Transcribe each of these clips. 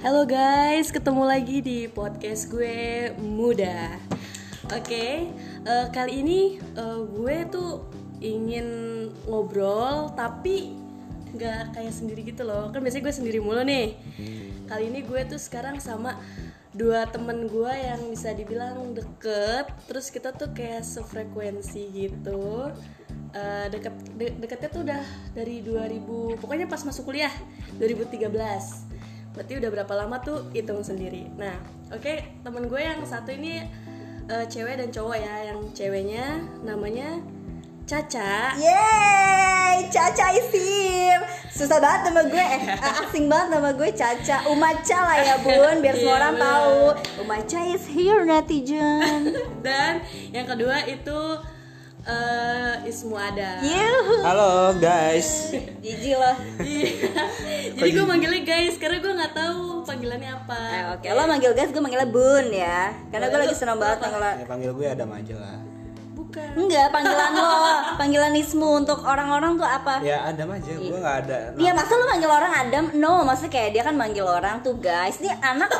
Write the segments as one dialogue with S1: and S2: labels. S1: Halo guys, ketemu lagi di podcast gue Muda. Oke, eh, kali ini eh, gue tuh ingin ngobrol tapi nggak kayak sendiri gitu loh. Kan biasanya gue sendiri mulu nih. Kali ini gue tuh sekarang sama dua temen gue yang bisa dibilang deket. Terus kita tuh kayak sefrekuensi gitu. Eh, deket de- deketnya tuh udah dari 2000 pokoknya pas masuk kuliah 2013 Berarti udah berapa lama tuh hitung sendiri. Nah, oke temen gue yang satu ini eh, cewek dan cowok ya. Yang ceweknya namanya Caca.
S2: Yeay, Caca Isim Susah banget nama gue, eh asing banget nama gue Caca Umaca lah ya bun, biar semua
S1: Iya,
S2: orang
S1: bener.
S2: tahu Umaca is here netizen
S1: Dan yang kedua itu eh Ismu Ada.
S2: Yuhu,
S3: Halo guys,
S2: jijik loh
S1: Jadi gue manggilnya guys karena gue nggak tahu panggilannya apa.
S2: Eh, Oke, lo manggil guys, gue manggilnya bun ya Karena gue
S1: Boleh,
S2: lagi
S1: lu
S2: seneng banget manggil lo
S3: yang panggil gue ada majalah.
S1: Bukan.
S2: Enggak, panggilan lo, panggilan ismu untuk orang-orang tuh apa?
S3: Ya ada aja, gue nggak ada.
S2: Iya masa lu manggil orang Adam? No, maksudnya kayak dia kan manggil orang tuh guys Ini anak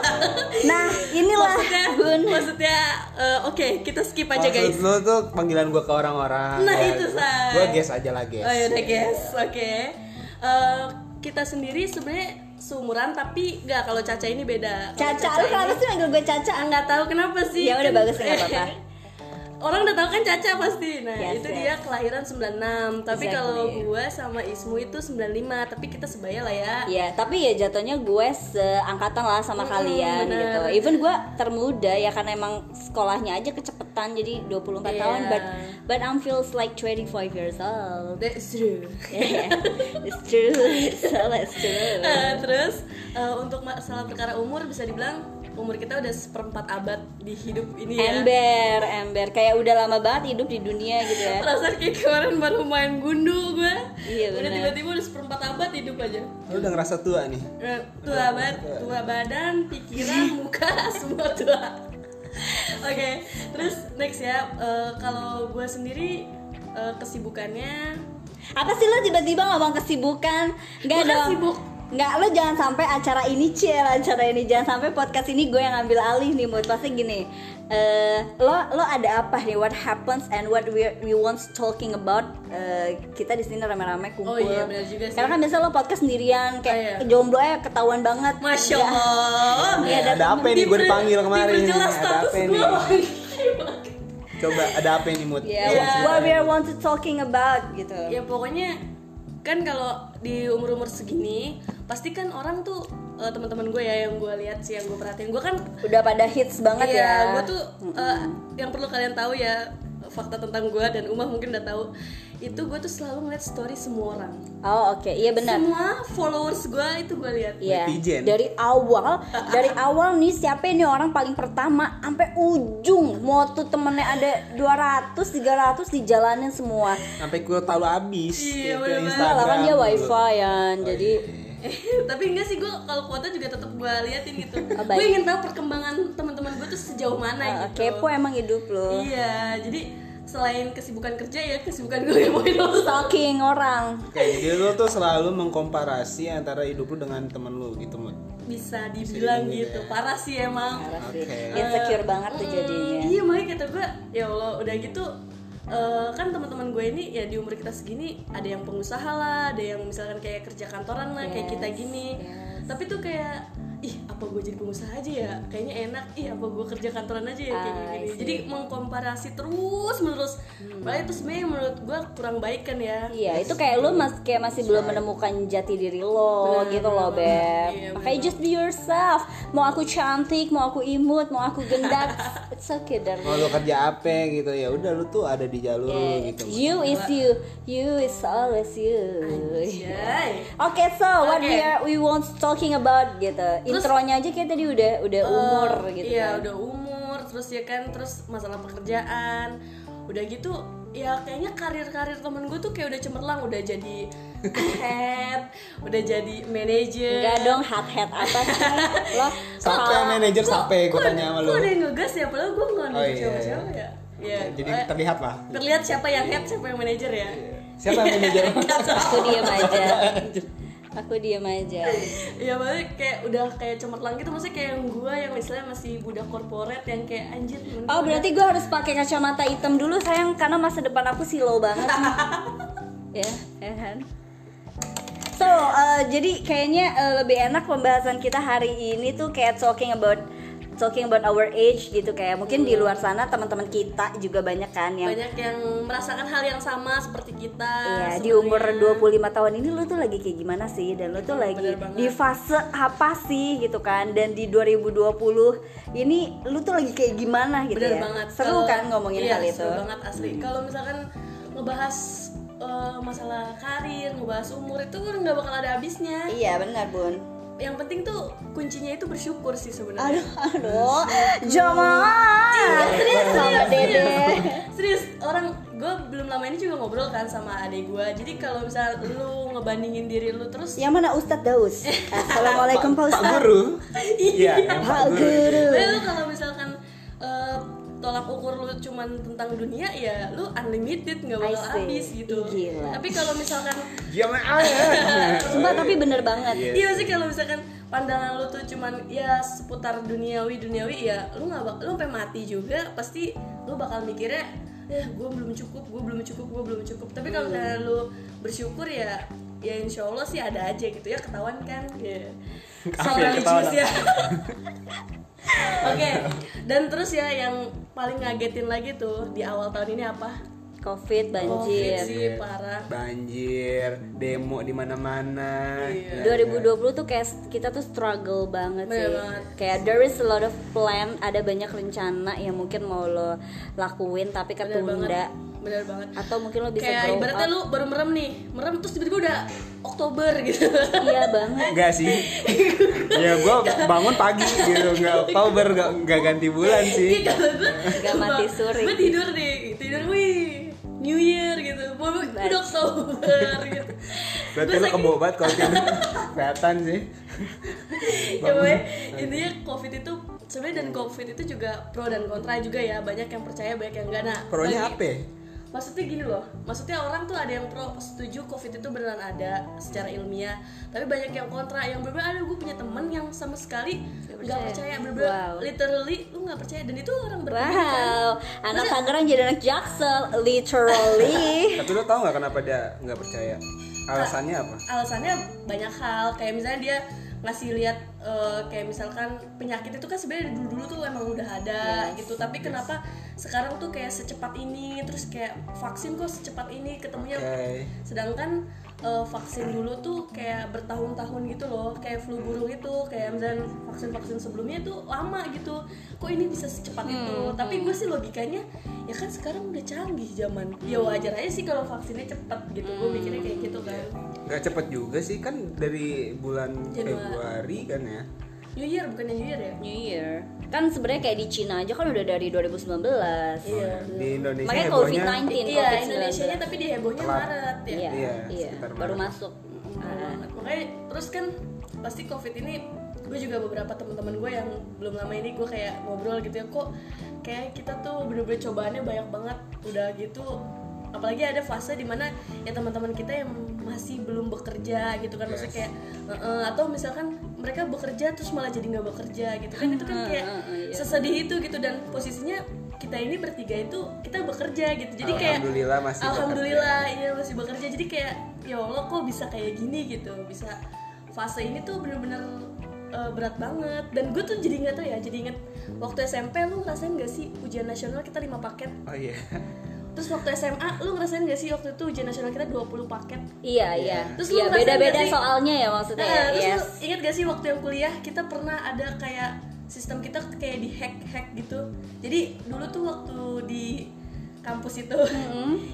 S2: Nah inilah
S1: Maksudnya,
S2: bun
S1: maksudnya eh, oke kita skip aja
S3: Maksud
S1: guys.
S3: lu tuh panggilan gue ke orang-orang.
S1: Nah, itu, Shay.
S3: Gue guess aja lah guess.
S1: Oh yaudah guys, oke. Eh, kita sendiri sebenarnya seumuran tapi nggak kalau Caca ini beda. Kalau
S2: Caca, lu kenapa
S1: ini-
S2: sih manggil gue Caca?
S1: Ah, nggak tahu kenapa sih.
S2: Ya udah,
S1: Kan-
S2: bagus, nggak apa-apa.
S1: Orang udah tahu kan Caca pasti. Nah,
S2: Yes,
S1: itu
S2: yes.
S1: dia kelahiran 96. Tapi
S2: Exactly.
S1: kalau gua sama Ismu itu 95, tapi kita sebaya lah ya.
S2: Ya, tapi ya jatuhnya gue seangkatan lah sama kalian
S1: bener.
S2: gitu. Even gue termuda ya karena emang sekolahnya aja kecepetan jadi
S1: Iya.
S2: 24 tahun but but I'm feels like 25 years old.
S1: That's true.
S2: Yeah, it's true. So it's true.
S1: Eh, terus eh, untuk masalah perkara umur bisa dibilang umur kita udah seperempat abad di hidup ini ya.
S2: Ember, ember kayak udah lama banget hidup di dunia gitu ya.
S1: Perasaan kayak kemarin baru main gundu gue
S2: Iya,
S1: Udah
S2: benar.
S1: tiba-tiba udah seperempat abad hidup aja
S3: Lu udah ngerasa tua nih.
S1: Eh, Tua banget, tua badan,
S2: Iya.
S1: pikiran, muka, semua tua Oke, terus next ya Eh, Kalau gue sendiri eh, kesibukannya
S2: Apa sih lo tiba-tiba ngomong kesibukan? Enggak
S1: Gua kan
S2: dong.
S1: sibuk.
S2: Nggak, lo jangan sampai acara ini cel, acara ini jangan sampai podcast ini gue yang ngambil alih nih mood pasti gini. eh, lo lo ada apa nih? What happens and what we we want talking about? Eh, kita di sini rame-rame kumpul.
S1: Oh iya, benar juga sih.
S2: Karena kan biasa lo podcast sendirian
S1: Oh
S2: kayak
S1: iya.
S2: jomblo ya ketahuan banget. Iya.
S1: Masya
S2: Nggak.
S1: Allah
S2: Iya,
S3: ada
S2: datang.
S3: apa nih gue
S1: Diper-
S3: dipanggil kemarin?
S1: diperjelas
S3: Ada
S1: status
S3: apa
S1: gue
S3: nih? Coba ada apa ini mood?
S1: Iya.
S2: Ya, what- what we are want to talking about gitu.
S1: ya pokoknya kan kalau di umur umur segini pasti kan orang tuh eh, teman-teman gue ya yang gue lihat sih yang gue perhatiin gue kan
S2: Udah pada hits
S1: iya,
S2: banget ya.
S1: gue tuh eh, yang perlu kalian tahu ya fakta tentang gue dan Umah mungkin udah tahu itu gue tuh selalu ngeliat story semua orang
S2: Oh oke, iya benar.
S1: semua followers gue itu gue lihat
S2: Iya.
S3: Netizen.
S2: Dari awal, dari awal nih siapa ini orang paling pertama sampai ujung. Mau tuh temennya ada 200, 300 dijalanin semua.
S3: Sampai gue tau lu abis.
S1: Iya,
S3: Itu
S1: bener-bener.
S2: Nah, lah kan dia
S3: dulu.
S2: wifi an,
S3: Oh,
S2: jadi
S3: iya.
S1: tapi enggak sih gue kalau kuota juga tetap gue liatin gitu
S2: Oh, baik.
S1: gue ingin tahu perkembangan teman-teman gue tuh sejauh mana
S3: iya.
S2: eh,
S1: gitu
S2: kepo emang hidup lo.
S1: Iya, jadi selain kesibukan kerja ya kesibukan gue ngepoin lo
S2: Stalking orang.
S3: Oke, Ya, jadi lu tuh selalu mengkomparasi antara hidup lu dengan temen lu gitu mood.
S1: bisa dibilang gitu parah sih emang
S2: Parah sih.
S3: Oke.
S2: Insecure banget tuh
S1: Hmm,
S2: jadinya.
S1: iya makanya kata gue ya allah udah gitu eh, kan teman-teman gue ini ya di umur kita segini ada yang pengusaha lah ada yang misalkan kayak kerja kantoran lah kayak kita gini tapi tuh kayak ih apa gue jadi pengusaha aja ya kayaknya enak ih apa gue kerja kantoran aja ya kayak gini
S2: Ah, I see. Hmm.
S1: jadi mengkomparasi terus menerus Padahal itu sebenarnya menurut gue kurang baik kan ya
S2: Iya, itu kayak lu mas kayak masih belum menemukan jati diri lo gitu loh, Beb.
S1: Iya,
S2: Makanya just be yourself. Mau aku cantik, mau aku imut, mau aku gendat, it's okay, darling.
S3: Mau lu kerja apa gitu ya udah lu tuh ada di jalur
S1: Iya,
S3: lu gitu. Mood.
S2: You is you, you is always you.
S1: Anjay.
S2: Oke, so what
S1: Oke.
S2: we are we want talking about gitu. Intronya aja kayak tadi udah udah umur gitu.
S1: Eh, Iya,
S2: kan.
S1: udah umur, terus ya kan, terus masalah pekerjaan. Udah gitu ya kayaknya karir-karir temen gue tuh kayak udah cemerlang, udah jadi head, udah jadi manajer.
S2: Enggak dong hat hat apa sih? Lo
S3: Sampai manajer sampai gue tanya sama lu.
S1: Kok ada yang ngegas ya, padahal gue nggak
S3: Oh,
S1: nunjuk
S3: iya,
S1: siapa-siapa ya. Ya,
S3: Jadi
S1: eh,
S3: terlihat lah.
S1: terlihat siapa yang head, siapa yang manajer ya.
S3: Siapa yang manajer?
S2: aku diam aja. aku diam aja
S1: ya maksudnya kayak udah kayak cemerlang gitu maksudnya kayak yang gue yang misalnya masih budak korporat yang kayak anjir men-
S2: oh berarti gue harus pakai kacamata hitam dulu sayang karena masa depan aku silau banget ya ya kan so uh, jadi kayaknya uh, lebih enak pembahasan kita hari ini tuh kayak talking about talking about our age gitu kayak mungkin di luar sana teman-teman kita juga banyak kan yang
S1: banyak yang merasakan hal yang sama seperti kita
S2: Iya, di
S1: sebenarnya.
S2: umur 25 tahun ini lu tuh lagi kayak gimana sih dan lu tuh lagi
S1: bener banget.
S2: di fase apa sih gitu kan dan di 2020 ini lu tuh lagi kayak gimana gitu
S1: Bener
S2: ya.
S1: banget.
S2: Seru
S1: Kalau-
S2: kan ngomongin
S1: iya,
S2: hal itu.
S1: Seru banget asli. Kalau misalkan ngebahas eh, masalah karir, ngebahas umur itu kan nggak bakal ada habisnya.
S2: Iya, benar, Bun.
S1: Yang penting tuh kuncinya itu bersyukur sih sebenarnya.
S2: Aduh, aduh. Jamaah.
S1: serius,
S2: sama Dede.
S1: Serius, orang gue belum lama ini juga ngobrol kan sama adik gue. Jadi kalau misal lu ngebandingin diri lu terus
S2: Yang mana Ustadz Daus? Assalamualaikum Pak
S3: Pak
S2: Ustadz.
S3: Guru.
S1: Iya.
S3: yang
S2: Pak Guru.
S1: Tapi Nah, lu kalau misalkan eh, tolak ukur lu cuman tentang dunia ya lu unlimited nggak bakal
S2: I see.
S1: habis gitu.
S2: Ih, gila.
S1: Tapi kalau misalkan
S3: Jamaah ya.
S2: Sumpah tapi bener banget.
S3: Iya.
S1: Iya sih kalau misalkan pandangan lu tuh cuman ya seputar duniawi duniawi ya lu nggak bak- lu sampai mati juga pasti lu bakal mikirnya eh gue belum cukup gue belum cukup gue belum cukup tapi kalau
S3: Hmm.
S1: misalnya lu bersyukur ya ya insya Allah sih ada aja gitu ya ketahuan kan ya
S3: Apa yang ketahuan?
S1: ya oke dan terus ya yang paling ngagetin lagi tuh di awal tahun ini apa covid
S2: Covid banjir.
S1: sih Iya, parah
S3: Banjir, demo di mana-mana.
S1: Iya.
S2: 2020 tuh kayak kita tuh struggle banget sih.
S1: Bener banget.
S2: Kayak there is a lot of plan, ada banyak rencana yang mungkin mau lo lakuin tapi ketunda
S1: bener banget
S2: atau mungkin lo bisa
S1: kayak
S2: grow
S1: ibaratnya
S2: up.
S1: lu baru merem nih merem terus tiba-tiba udah Oktober gitu
S2: Iya banget.
S3: Enggak sih. ya gua bangun pagi gitu, enggak Oktober, enggak enggak ganti bulan
S1: Iya,
S3: sih.
S1: kalau gue
S2: Gak mati suri.
S1: gue tidur nih tidur wih New Year gitu Wah, udah Oktober gitu
S3: Berarti lu kebo banget kalau tidur. Kelihatan sih.
S1: ya pokoknya intinya covid itu sebenarnya dan covid itu juga pro dan kontra juga ya banyak yang percaya banyak yang enggak nah bagi-
S3: Pronya apa? ya?
S1: maksudnya gini loh maksudnya orang tuh ada yang pro setuju covid itu beneran ada secara ilmiah tapi banyak yang kontra yang bener ada gue punya temen yang sama sekali nggak percaya,
S2: percaya.
S1: bener-bener
S2: Wow.
S1: literally lu nggak percaya dan itu orang kan, berbeda
S2: Wow, anak Tangerang jadi anak Jaksel, literally.
S3: Tapi lu tau nggak kenapa dia nggak percaya? Alasannya apa?
S1: alasannya banyak hal kayak misalnya dia ngasih lihat eh, kayak misalkan penyakit itu kan sebenarnya dulu dulu tuh emang udah ada gitu tapi kenapa sekarang tuh kayak secepat ini terus kayak vaksin kok secepat ini ketemunya
S3: Oke.
S1: sedangkan eh, vaksin dulu tuh kayak bertahun-tahun gitu loh kayak flu burung itu kayak misalnya vaksin-vaksin sebelumnya tuh lama gitu kok ini bisa secepat itu tapi gue sih logikanya ya kan sekarang udah canggih zaman ya wajar aja sih kalau vaksinnya cepet gitu gue mikirnya kayak gitu kan
S3: Gak cepet juga sih kan dari bulan Februari kan ya.
S2: Iya,
S1: New Year bukannya New Year ya
S2: New Year. Kan sebenarnya kayak di Cina aja kan udah dari 2019.
S3: Iya. Di Indonesia
S2: Makanya
S3: hebohnya
S2: COVID-19,
S1: iya
S2: COVID-19.
S1: Indonesia nya tapi di hebohnya
S3: Telat.
S1: Maret ya Oh.
S2: Iya,
S3: Iya,
S2: iya.
S3: sekitar
S2: Baru
S3: Maret.
S2: masuk. Ah,
S1: Bener banget. makanya Nah, terus kan pasti covid ini gue juga beberapa teman-teman gue yang belum lama ini gue kayak ngobrol gitu ya kok kayak kita tuh bener-bener cobaannya banyak banget udah gitu apalagi ada fase dimana ya teman-teman kita yang masih belum bekerja gitu kan maksudnya kayak "Eh, eh," atau misalkan mereka bekerja terus malah jadi nggak bekerja gitu kan itu kan kayak sesedih itu gitu dan posisinya kita ini bertiga itu kita bekerja gitu jadi kayak
S3: Alhamdulillah masih bekerja.
S1: alhamdulillah iya masih bekerja jadi kayak ya Allah kok bisa kayak gini gitu bisa fase ini tuh bener-bener eh, berat banget dan gue tuh jadi ingat tuh ya jadi inget waktu SMP lu ngerasain gak sih ujian nasional kita 5 paket
S3: Oh iya.
S1: terus waktu SMA lu ngerasain gak sih waktu itu ujian nasional kita 20 paket
S2: Iya, iya.
S1: Terus lu
S2: Iya,
S1: ngerasain
S2: beda-beda
S1: nggak sih?
S2: soalnya ya maksudnya. ya.
S1: Nah, terus
S2: Yes.
S1: lu inget gak sih waktu yang kuliah kita pernah ada kayak sistem kita kayak di hack hack gitu. Jadi dulu tuh waktu di kampus itu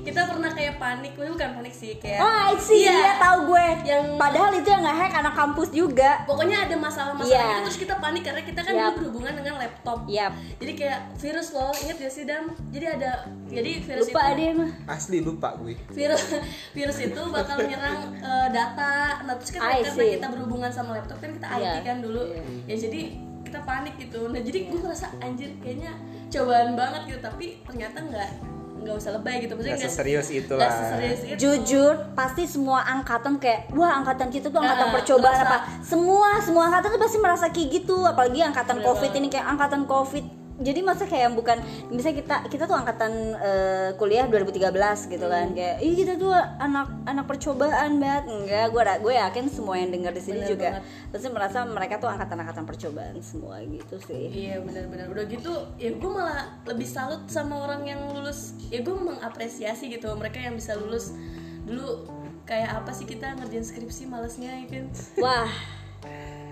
S1: kita pernah kayak panik, Wah, bukan panik sih kayak.
S2: Mm-hmm. Oh, I see.
S1: Iya.
S2: Iya, tahu gue.
S1: Yang
S2: Padahal itu yang nge-hack anak kampus juga.
S1: pokoknya ada masalah-masalah
S2: Iya.
S1: itu terus kita panik karena kita kan
S2: Yap. Iya.
S1: dulu berhubungan dengan laptop.
S2: Yap.
S1: Jadi kayak virus loh, inget gak sih Dam? Jadi ada jadi virus
S2: Lupa
S1: itu
S2: ada mah.
S3: Asli lupa gue.
S1: virus virus itu bakal menyerang eh, data nah terus kan
S2: I
S1: karena
S2: see.
S1: kita berhubungan sama laptop kan kita IT
S2: Iya.
S1: kan dulu ya jadi kita panik gitu nah jadi gue ngerasa anjir kayaknya cobaan banget gitu tapi ternyata nggak nggak usah lebay gitu maksudnya
S3: Nggak
S1: nggak-
S3: seserius itu
S1: nggak
S3: lah.
S1: seserius itu.
S2: jujur pasti semua angkatan kayak wah angkatan kita tuh angkatan
S1: Ah,
S2: percobaan
S1: merasa-
S2: apa semua semua angkatan tuh pasti merasa kayak gitu apalagi angkatan covid ini kayak angkatan covid jadi masa kayak bukan misalnya kita kita tuh angkatan eh, kuliah 2013 gitu kan kayak ih kita tuh anak anak percobaan banget enggak gue gue yakin semua yang dengar di sini
S1: Bener
S2: juga pasti merasa mereka tuh angkatan-angkatan percobaan semua gitu sih
S1: Iya benar-benar udah gitu ya gue malah lebih salut sama orang yang lulus ya gue mengapresiasi gitu mereka yang bisa lulus dulu kayak apa sih kita ngerjain skripsi malesnya ya kan
S2: wah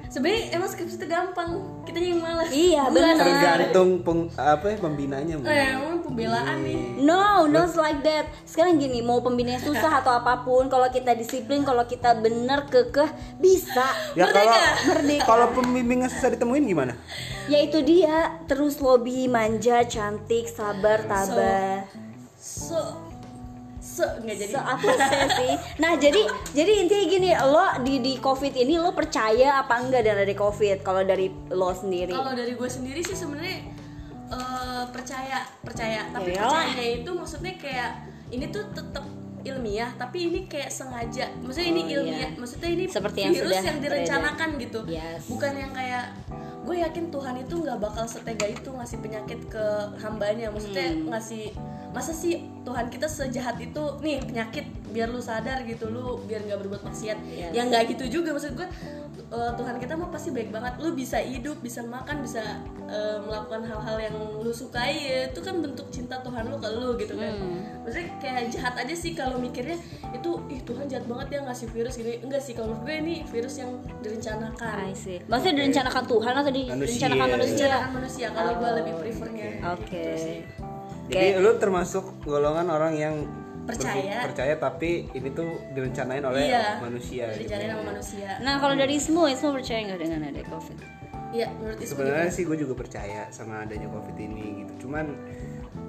S1: sebenarnya emang skripsi itu gampang kita yang malas
S2: Iya,
S1: Bukan.
S2: bener.
S3: tergantung peng, apa ya pembinanya Bu.
S2: Iya.
S1: eh, emang pembelaan nih
S2: No, not like that. Sekarang gini, mau pembinaan susah atau apapun, kalau kita disiplin, kalau kita bener kekeh bisa.
S3: ya kalau
S2: Merdeka.
S3: kalau pembimbingnya susah ditemuin gimana
S2: Yaitu dia terus lobby, manja, cantik, sabar, tabah.
S1: so so nggak jadi
S2: So, apa sih? Nah, jadi jadi intinya gini, lo di di Covid ini lo percaya apa enggak dan dari Covid kalau dari lo sendiri?
S1: kalau dari gue sendiri sih sebenarnya eh, percaya percaya tapi
S2: Yalah.
S1: percaya itu maksudnya kayak ini tuh tetap ilmiah tapi ini kayak sengaja maksudnya ini
S2: Oh, iya.
S1: ilmiah maksudnya ini
S2: Seperti yang
S1: virus
S2: sudah
S1: yang direncanakan gitu
S2: Yes.
S1: bukan yang kayak gue yakin Tuhan itu nggak bakal setega itu ngasih penyakit ke hambanya maksudnya
S2: Hmm.
S1: ngasih masa sih Tuhan kita sejahat itu nih penyakit biar lu sadar gitu lu biar nggak berbuat maksiat
S2: Yes.
S1: yang nggak gitu juga maksud gue eh, Tuhan kita mah pasti baik banget lu bisa hidup bisa makan bisa eh, melakukan hal-hal yang lu sukai ya. itu kan bentuk cinta Tuhan lu ke lu gitu kan
S2: Hmm.
S1: maksudnya kayak jahat aja sih kalau mikirnya itu ih Tuhan jahat banget ya ngasih virus gini enggak sih kalau menurut gue ini virus yang direncanakan
S2: I see. Maksudnya direncanakan Tuhan atau direncanakan manusia?
S1: direncanakan manusia kalau gue lebih prefernya
S2: Oke.
S3: jadi lu termasuk golongan orang yang
S1: Percaya.
S3: berfi- percaya tapi ini tuh direncanain oleh
S1: Iya.
S3: manusia gitu.
S1: direncanain sama manusia
S2: Nah, kalau dari semua, semua percaya nggak dengan ada Covid?
S1: iya menurut Ismu
S3: sebenarnya sih gue juga percaya sama adanya covid ini gitu cuman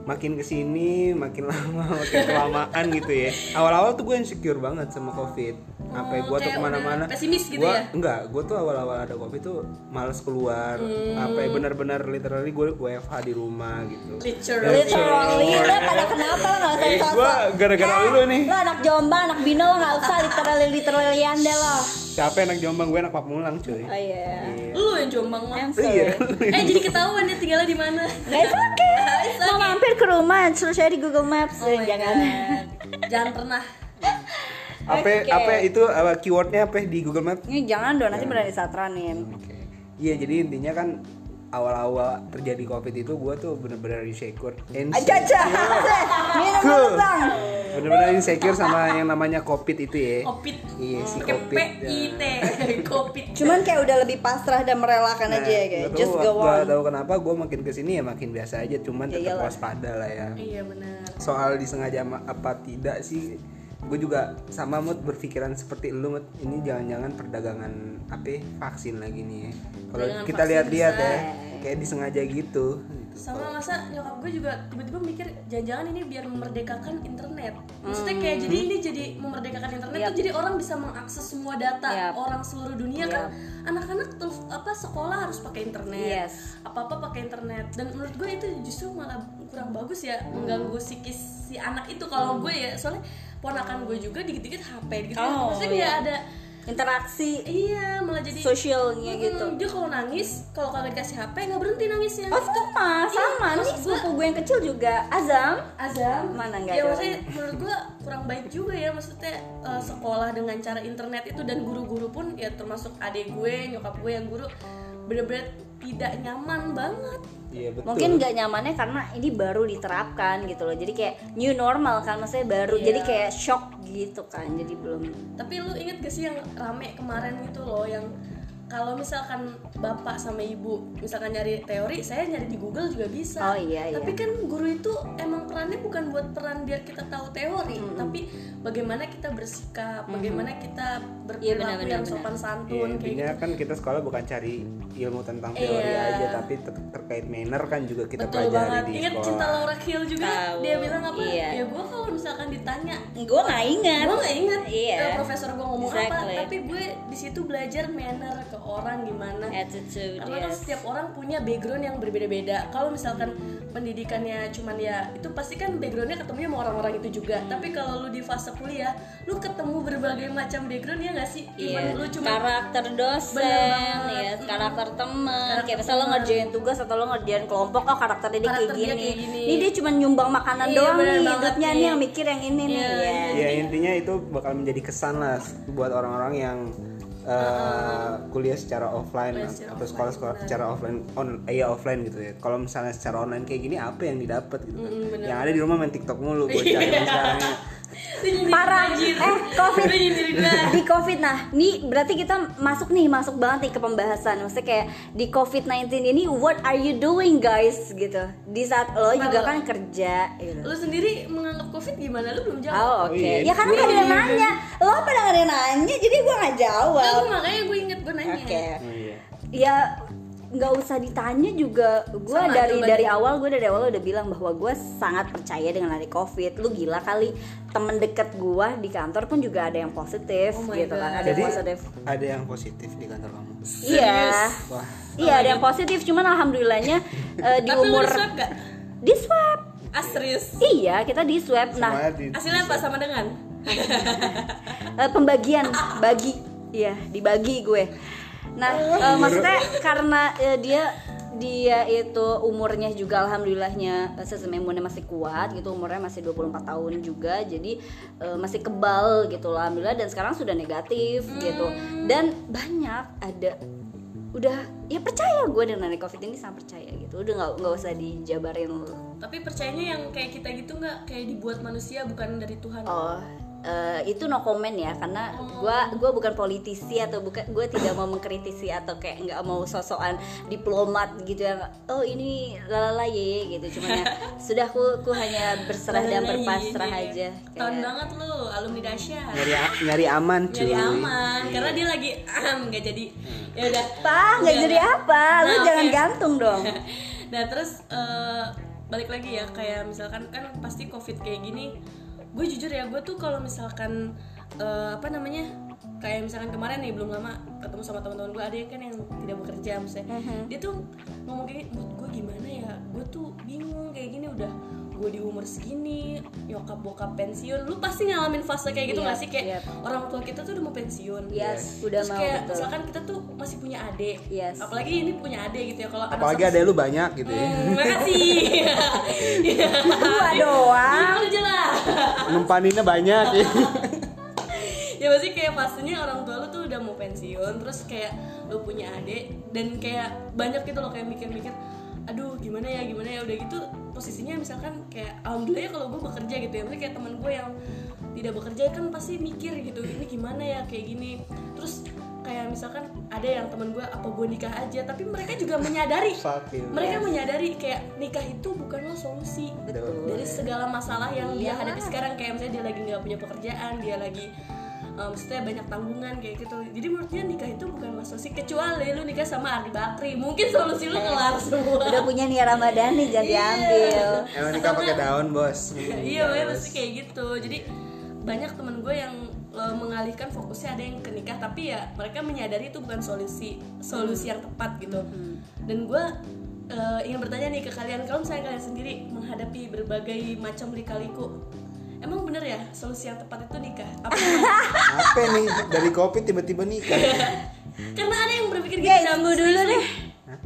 S3: makin kesini makin lama makin kelamaan gitu ya awal-awal tuh gue insecure banget sama covid sampai gue tuh
S1: Oh, kayak
S3: kemana-mana
S1: udah pesimis gitu
S3: Gua-
S1: ya?
S3: enggak gue tuh awal-awal ada covid tuh males keluar
S1: Hmm.
S3: sampai benar-benar literally gue WFH di rumah gitu
S1: literally
S2: Literally, lo pada kenapa lo gak usah
S3: Iya. Eh,
S2: sosok
S3: gua gara-gara
S2: Hah?
S3: lu nih.
S2: Lo anak jombang, anak bino lo gak usah literally literally anda lo
S3: siapa yang anak jombang gue anak pamulang cuy
S2: Oh iya
S1: lu yang jombang mah
S2: I'm
S3: iya
S2: sorry
S1: eh jadi ketahuan dia tinggalnya di mana
S2: Guys, oke Mau mampir ke rumah, suruh saya di Google Maps
S1: Oh my
S2: Jangan
S1: God. jangan pernah
S3: apa apa itu apa, keywordnya apa di Google Maps
S2: Ini jangan dong, nanti berani satranin
S3: Oke. Iya jadi intinya kan awal-awal terjadi covid itu gue tuh bener-bener insecure
S2: Aja
S3: insecure
S2: aja
S3: Iya.
S2: Minum dulu bang
S3: bener-bener insecure sama yang namanya covid itu ya
S1: kopit ya.
S3: iya si
S1: pakai
S3: covid
S1: P I T kopit
S2: Cuman kayak udah lebih pasrah dan merelakan aja ya kayak Just go
S3: Nah,
S2: on
S3: gak
S2: Ya
S3: tahu kenapa gue makin kesini ya makin biasa aja cuman tetap
S2: iyalah.
S3: waspada lah ya
S1: iya benar
S3: soal disengaja ama- apa tidak sih gue juga sama mood berpikiran seperti lu Mut. ini jangan-jangan perdagangan apa ya, vaksin lagi nih ya. kalau
S1: Perdagangan
S3: kita
S1: vaksin
S3: lihat-lihat
S1: bisa.
S3: ya kayak disengaja gitu, gitu.
S1: sama masa nyokap gue juga tiba-tiba mikir jangan-jangan ini biar memerdekakan internet maksudnya kayak jadi ini jadi memerdekakan internet tuh jadi orang bisa mengakses semua data
S2: Yap.
S1: orang seluruh dunia kan anak-anak tuh apa sekolah harus pakai internet
S2: Yes.
S1: apa-apa pakai internet dan menurut gue itu justru malah kurang bagus ya mengganggu psikis si anak itu
S2: Hmm.
S1: kalau gue ya soalnya ponakan gue juga dikit-dikit HP dikit-dikit
S2: Oh,
S1: maksudnya
S2: iya.
S1: kayak ada
S2: Interaksi
S1: iya malah jadi
S2: sosialnya
S1: Hmm,
S2: gitu Oh,
S1: dia kalau nangis kalau kagak dikasih HP nggak berhenti nangisnya
S2: Of course Ma. sama
S1: Iya,
S2: Nih
S1: maksud gua-
S2: sepupu gue yang kecil juga Azam
S1: Azam
S2: Mana nggak
S1: ya
S2: ada
S1: maksudnya menurut gua kurang baik juga ya maksudnya eh, sekolah dengan cara internet itu dan guru-guru pun ya termasuk adik gue nyokap gue yang guru bener-bener tidak nyaman banget
S3: iya betul
S2: mungkin nggak nyamannya karena ini baru diterapkan gitu loh jadi kayak new normal kan maksudnya baru jadi kayak shock gitu kan jadi belum
S1: tapi lu inget gak sih yang rame kemarin gitu loh yang kalau misalkan bapak sama ibu misalkan nyari teori saya nyari di Google juga bisa
S2: Oh,
S3: Eh,
S2: iya, iya.
S1: tapi kan guru itu emang perannya bukan buat peran biar kita tahu teori tapi bagaimana kita bersikap bagaimana kita berperilaku
S2: benar-benar,
S1: yang sopan
S3: Iya,
S1: santun kayak gitu.
S3: intinya kan kita sekolah bukan cari ilmu tentang teori
S1: Iya.
S3: aja tapi ter- terkait manner kan juga kita
S1: Betul
S3: pelajari
S1: banget.
S3: di
S1: Ingat
S3: sekolah
S1: cinta Laura Hill juga
S2: Tahu.
S1: dia bilang apa?
S2: Iya.
S1: Ya gue kalau misalkan ditanya,
S2: gue nggak ingat
S1: gue nggak inget
S2: Iya.
S1: eh, profesor gue ngomong apa.
S2: Exactly.
S1: Tapi tapi gue di situ belajar manner ke orang gimana
S2: attitude iya.
S1: karena kan
S2: yes.
S1: setiap orang punya background yang berbeda-beda kalau misalkan pendidikannya cuman ya itu pasti kan backgroundnya ketemunya sama orang-orang itu juga tapi kalau lu di fase kuliah lu ketemu berbagai macam background ya nggak sih
S2: Iya,
S1: Cuman lu cuma
S2: karakter dosen,
S1: Bener banget.
S2: ya, karakter teman.
S1: Karakter
S2: Kayak misalnya lo
S1: teman.
S2: ngerjain tugas atau lo ngerjain kelompok, oh karakter dia kayak
S1: Karakter dia
S2: gini.
S1: kayak gini.
S2: Ini dia cuma nyumbang makanan
S1: Iya,
S2: doang
S1: bener
S2: nih,
S1: banget
S2: hidupnya
S1: nih.
S2: nih yang mikir yang ini nih.
S1: Iya,
S2: ya.
S3: ya intinya itu bakal menjadi kesan lah buat orang-orang yang eh, kuliah secara offline
S1: Uh-uh. Kuliah
S3: at-
S1: secara
S3: atau sekolah sekolah secara offline on eh, ya offline gitu ya kalau misalnya secara online kayak gini apa yang didapat gitu kan? yang ada di rumah main tiktok mulu
S1: Iya.
S3: bocah misalnya
S2: Parah. Eh, Covid.
S1: covid
S2: di covid nah nih berarti kita masuk nih masuk banget nih ke pembahasan maksudnya kayak di covid 19 ini what are you doing guys gitu di saat lo juga
S1: Kalau-
S2: kan kerja gitu.
S1: lu sendiri menganggap covid gimana lu belum jawab
S2: oh
S3: Oh
S2: oke
S3: iya,
S2: ya kan
S3: gue
S2: gak ada yang
S3: iya.
S2: nanya lo pada gak ada yang nanya jadi gue gak
S1: Nah,
S2: jawab
S1: gue makanya gue inget gue nanya
S2: oke
S3: oh, iya.
S2: ya nggak usah ditanya juga gue
S1: Sama,
S2: dari
S1: coba
S2: dari awal gue dari awal udah bilang bahwa gue sangat percaya dengan lari covid lu gila kali temen deket gue di kantor pun juga ada yang positif
S1: Oh my
S2: gitu
S1: God.
S2: kan ada
S3: jadi
S2: yang positif
S3: ada yang positif di kantor kamu
S2: Iya.
S3: wah
S2: Iya, ada yang positif cuman alhamdulillahnya eh, di
S1: tapi lu
S2: umur
S1: di swab gak?
S2: di swab.
S1: ah serius
S2: Iya, kita di swab. Nah,
S3: semuanya di-
S1: hasilnya apa sama dengan?
S2: eh, pembagian bagi. Iya, dibagi gue. Nah, eh, maksudnya karena eh, dia dia itu umurnya juga alhamdulillahnya eh, sistem imunnya masih kuat gitu umurnya masih 24 tahun juga jadi eh, masih kebal gitu lah alhamdulillah dan sekarang sudah negatif gitu dan banyak ada udah ya percaya gue dengan ada covid ini sangat percaya gitu udah nggak nggak usah dijabarin lu
S1: tapi percayanya yang kayak kita gitu nggak kayak dibuat manusia bukan dari Tuhan
S2: oh eh, itu no comment ya karena gue gua bukan politisi atau bukan gue tidak mau mengkritisi atau kayak nggak mau sosokan diplomat gitu yang oh ini lalala ye ye," gitu cuman ya sudah ku ku hanya berserah dan
S1: Lalala,
S2: berpasrah
S1: iya, iya.
S2: aja
S1: tahun
S2: kayak
S1: banget lu alumni dahsyat
S3: nyari a- nyari aman Iya. cuy
S1: jadi aman karena dia lagi ahem nggak jadi ya udah
S2: apa nggak
S1: Iya,
S2: jadi
S1: nggak.
S2: apa lu
S1: Nah,
S2: jangan
S1: oke.
S2: gantung dong
S1: nah terus eh, balik lagi ya kayak misalkan kan pasti covid kayak gini gue jujur ya gue tuh kalau misalkan eh, apa namanya kayak misalkan kemarin nih belum lama ketemu sama teman-teman gue ada yang kan yang tidak bekerja misalnya
S2: Mhm.
S1: dia tuh ngomong kayak gue gimana ya gue tuh bingung kayak gini udah gue di umur segini nyokap bokap pensiun lu pasti ngalamin fase kayak gitu
S2: Iya,
S1: nggak sih kayak
S2: iya.
S1: orang tua kita tuh udah mau pensiun
S2: yes udah
S1: Terus
S2: Iya, mau
S1: kayak
S2: betul
S1: misalkan kita tuh masih punya adik
S2: Yes.
S1: apalagi ini punya adik gitu ya kalau anak
S3: apalagi
S1: satu-
S3: ada lu banyak gitu ya
S1: Hmm, makasih
S2: dua doang
S1: Gitu aja lah
S3: Numpaninnya banyak ya.
S1: ya pasti kayak pastinya orang tua lu tuh udah mau pensiun terus kayak lu punya adik dan kayak banyak gitu loh kayak mikir-mikir aduh gimana ya gimana ya udah gitu posisinya misalkan kayak alhamdulillah ya kalau gue bekerja gitu ya maksudnya kayak teman gue yang tidak bekerja kan pasti mikir gitu ini gimana ya kayak gini terus kayak misalkan ada yang teman gue apa gue nikah aja tapi mereka juga menyadari
S3: Fuck you.
S1: mereka menyadari kayak nikah itu bukanlah solusi
S3: Betul.
S1: dari segala masalah yang dia hadapi sekarang kayak misalnya dia lagi nggak punya pekerjaan dia lagi um, maksudnya banyak tanggungan kayak gitu jadi menurut dia nikah itu bukanlah solusi kecuali lu nikah sama Ardi Bakri mungkin solusi lu kelar semua
S2: udah punya nih Ramadhani jangan
S1: Iya.
S2: diambil
S3: Emang nikah pakai daun bos.
S1: iya makanya pasti kayak gitu jadi banyak temen gue yang eh, mengalihkan fokusnya ada yang ke nikah tapi ya mereka menyadari itu bukan solusi solusi yang tepat gitu
S2: Hmm.
S1: dan gue eh, ingin bertanya nih ke kalian kalau misalnya kalian sendiri menghadapi berbagai macam lika-liku emang bener ya solusi yang tepat itu nikah apa
S3: Apa nih dari covid tiba-tiba
S1: Iya.
S3: nikah?
S1: karena ada yang berpikir gitu
S2: Ya,
S1: Dam.
S2: ismu dulu deh.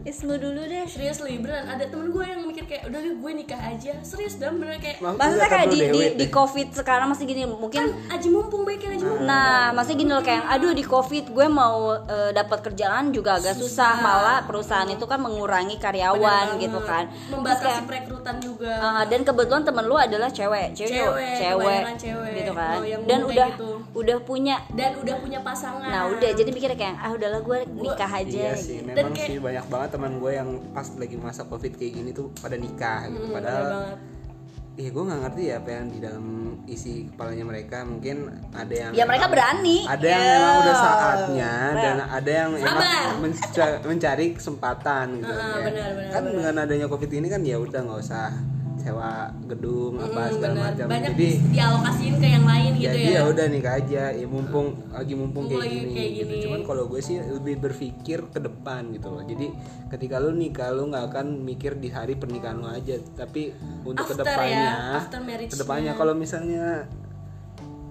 S2: Ismu dulu deh.
S1: serius beneran ada temen gue yang mikir kayak udah deh, gue nikah aja serius dan bener kayak "Kan
S3: Maksudnya
S2: Maksudnya kayak di, di,
S3: Dewey
S2: di
S3: deh.
S2: covid sekarang masih gini mungkin
S1: aji mumpung baiknya aji mumpung
S2: Nah, maksudnya gini loh kayak aduh di Covid gue mau eh, dapat kerjaan juga agak susah. Malah perusahaan itu kan mengurangi karyawan gitu kan. Terus
S1: membatasi
S2: kayak,
S1: perekrutan juga
S2: eh, dan kebetulan temen lu adalah cewek, cewek,
S1: Cewek,
S2: cewek,
S1: kebanyakan cewek.
S2: gitu kan.
S1: Oh, yang
S2: Dan
S1: kayak
S2: udah
S1: gitu.
S2: udah punya.
S1: dan udah punya pasangan
S2: Nah, udah jadi mikirnya kayak ah udahlah gue nikah aja
S3: Iya sih,
S2: gitu.
S1: Dan
S3: memang
S1: kayak-
S3: sih banyak banget teman gue yang pas lagi masa covid kayak gini tuh pada nikah gitu.
S1: Hmm,
S3: Padahal, iya gue nggak ngerti ya apa yang di dalam isi kepalanya mereka. Mungkin ada yang
S2: Ya mereka berani.
S3: ada yang
S2: Ya.
S3: memang udah saatnya dan ada yang emang
S1: Iya. Sabar.
S3: menca- mencari kesempatan gitu.
S1: Heeh,
S3: ya.
S1: benar, benar,
S3: kan dengan adanya covid ini kan ya udah nggak usah sewa gedung apa
S1: Mm,
S3: segala
S1: bener.
S3: macam
S1: banyak
S3: jadi
S1: dialokasiin ke yang lain gitu
S3: jadi
S1: ya
S3: ya udah nih aja ya mumpung lagi mumpung
S1: Mumpung
S3: kayak
S1: lagi
S3: gini,
S1: kayak
S3: gitu
S1: gini.
S3: cuman kalau gue sih lebih berpikir ke depan gitu loh jadi ketika lu nikah lu nggak akan mikir di hari pernikahan lu aja tapi untuk
S1: After
S3: kedepannya
S1: ya, after marriage-nya.
S3: kedepannya kalau misalnya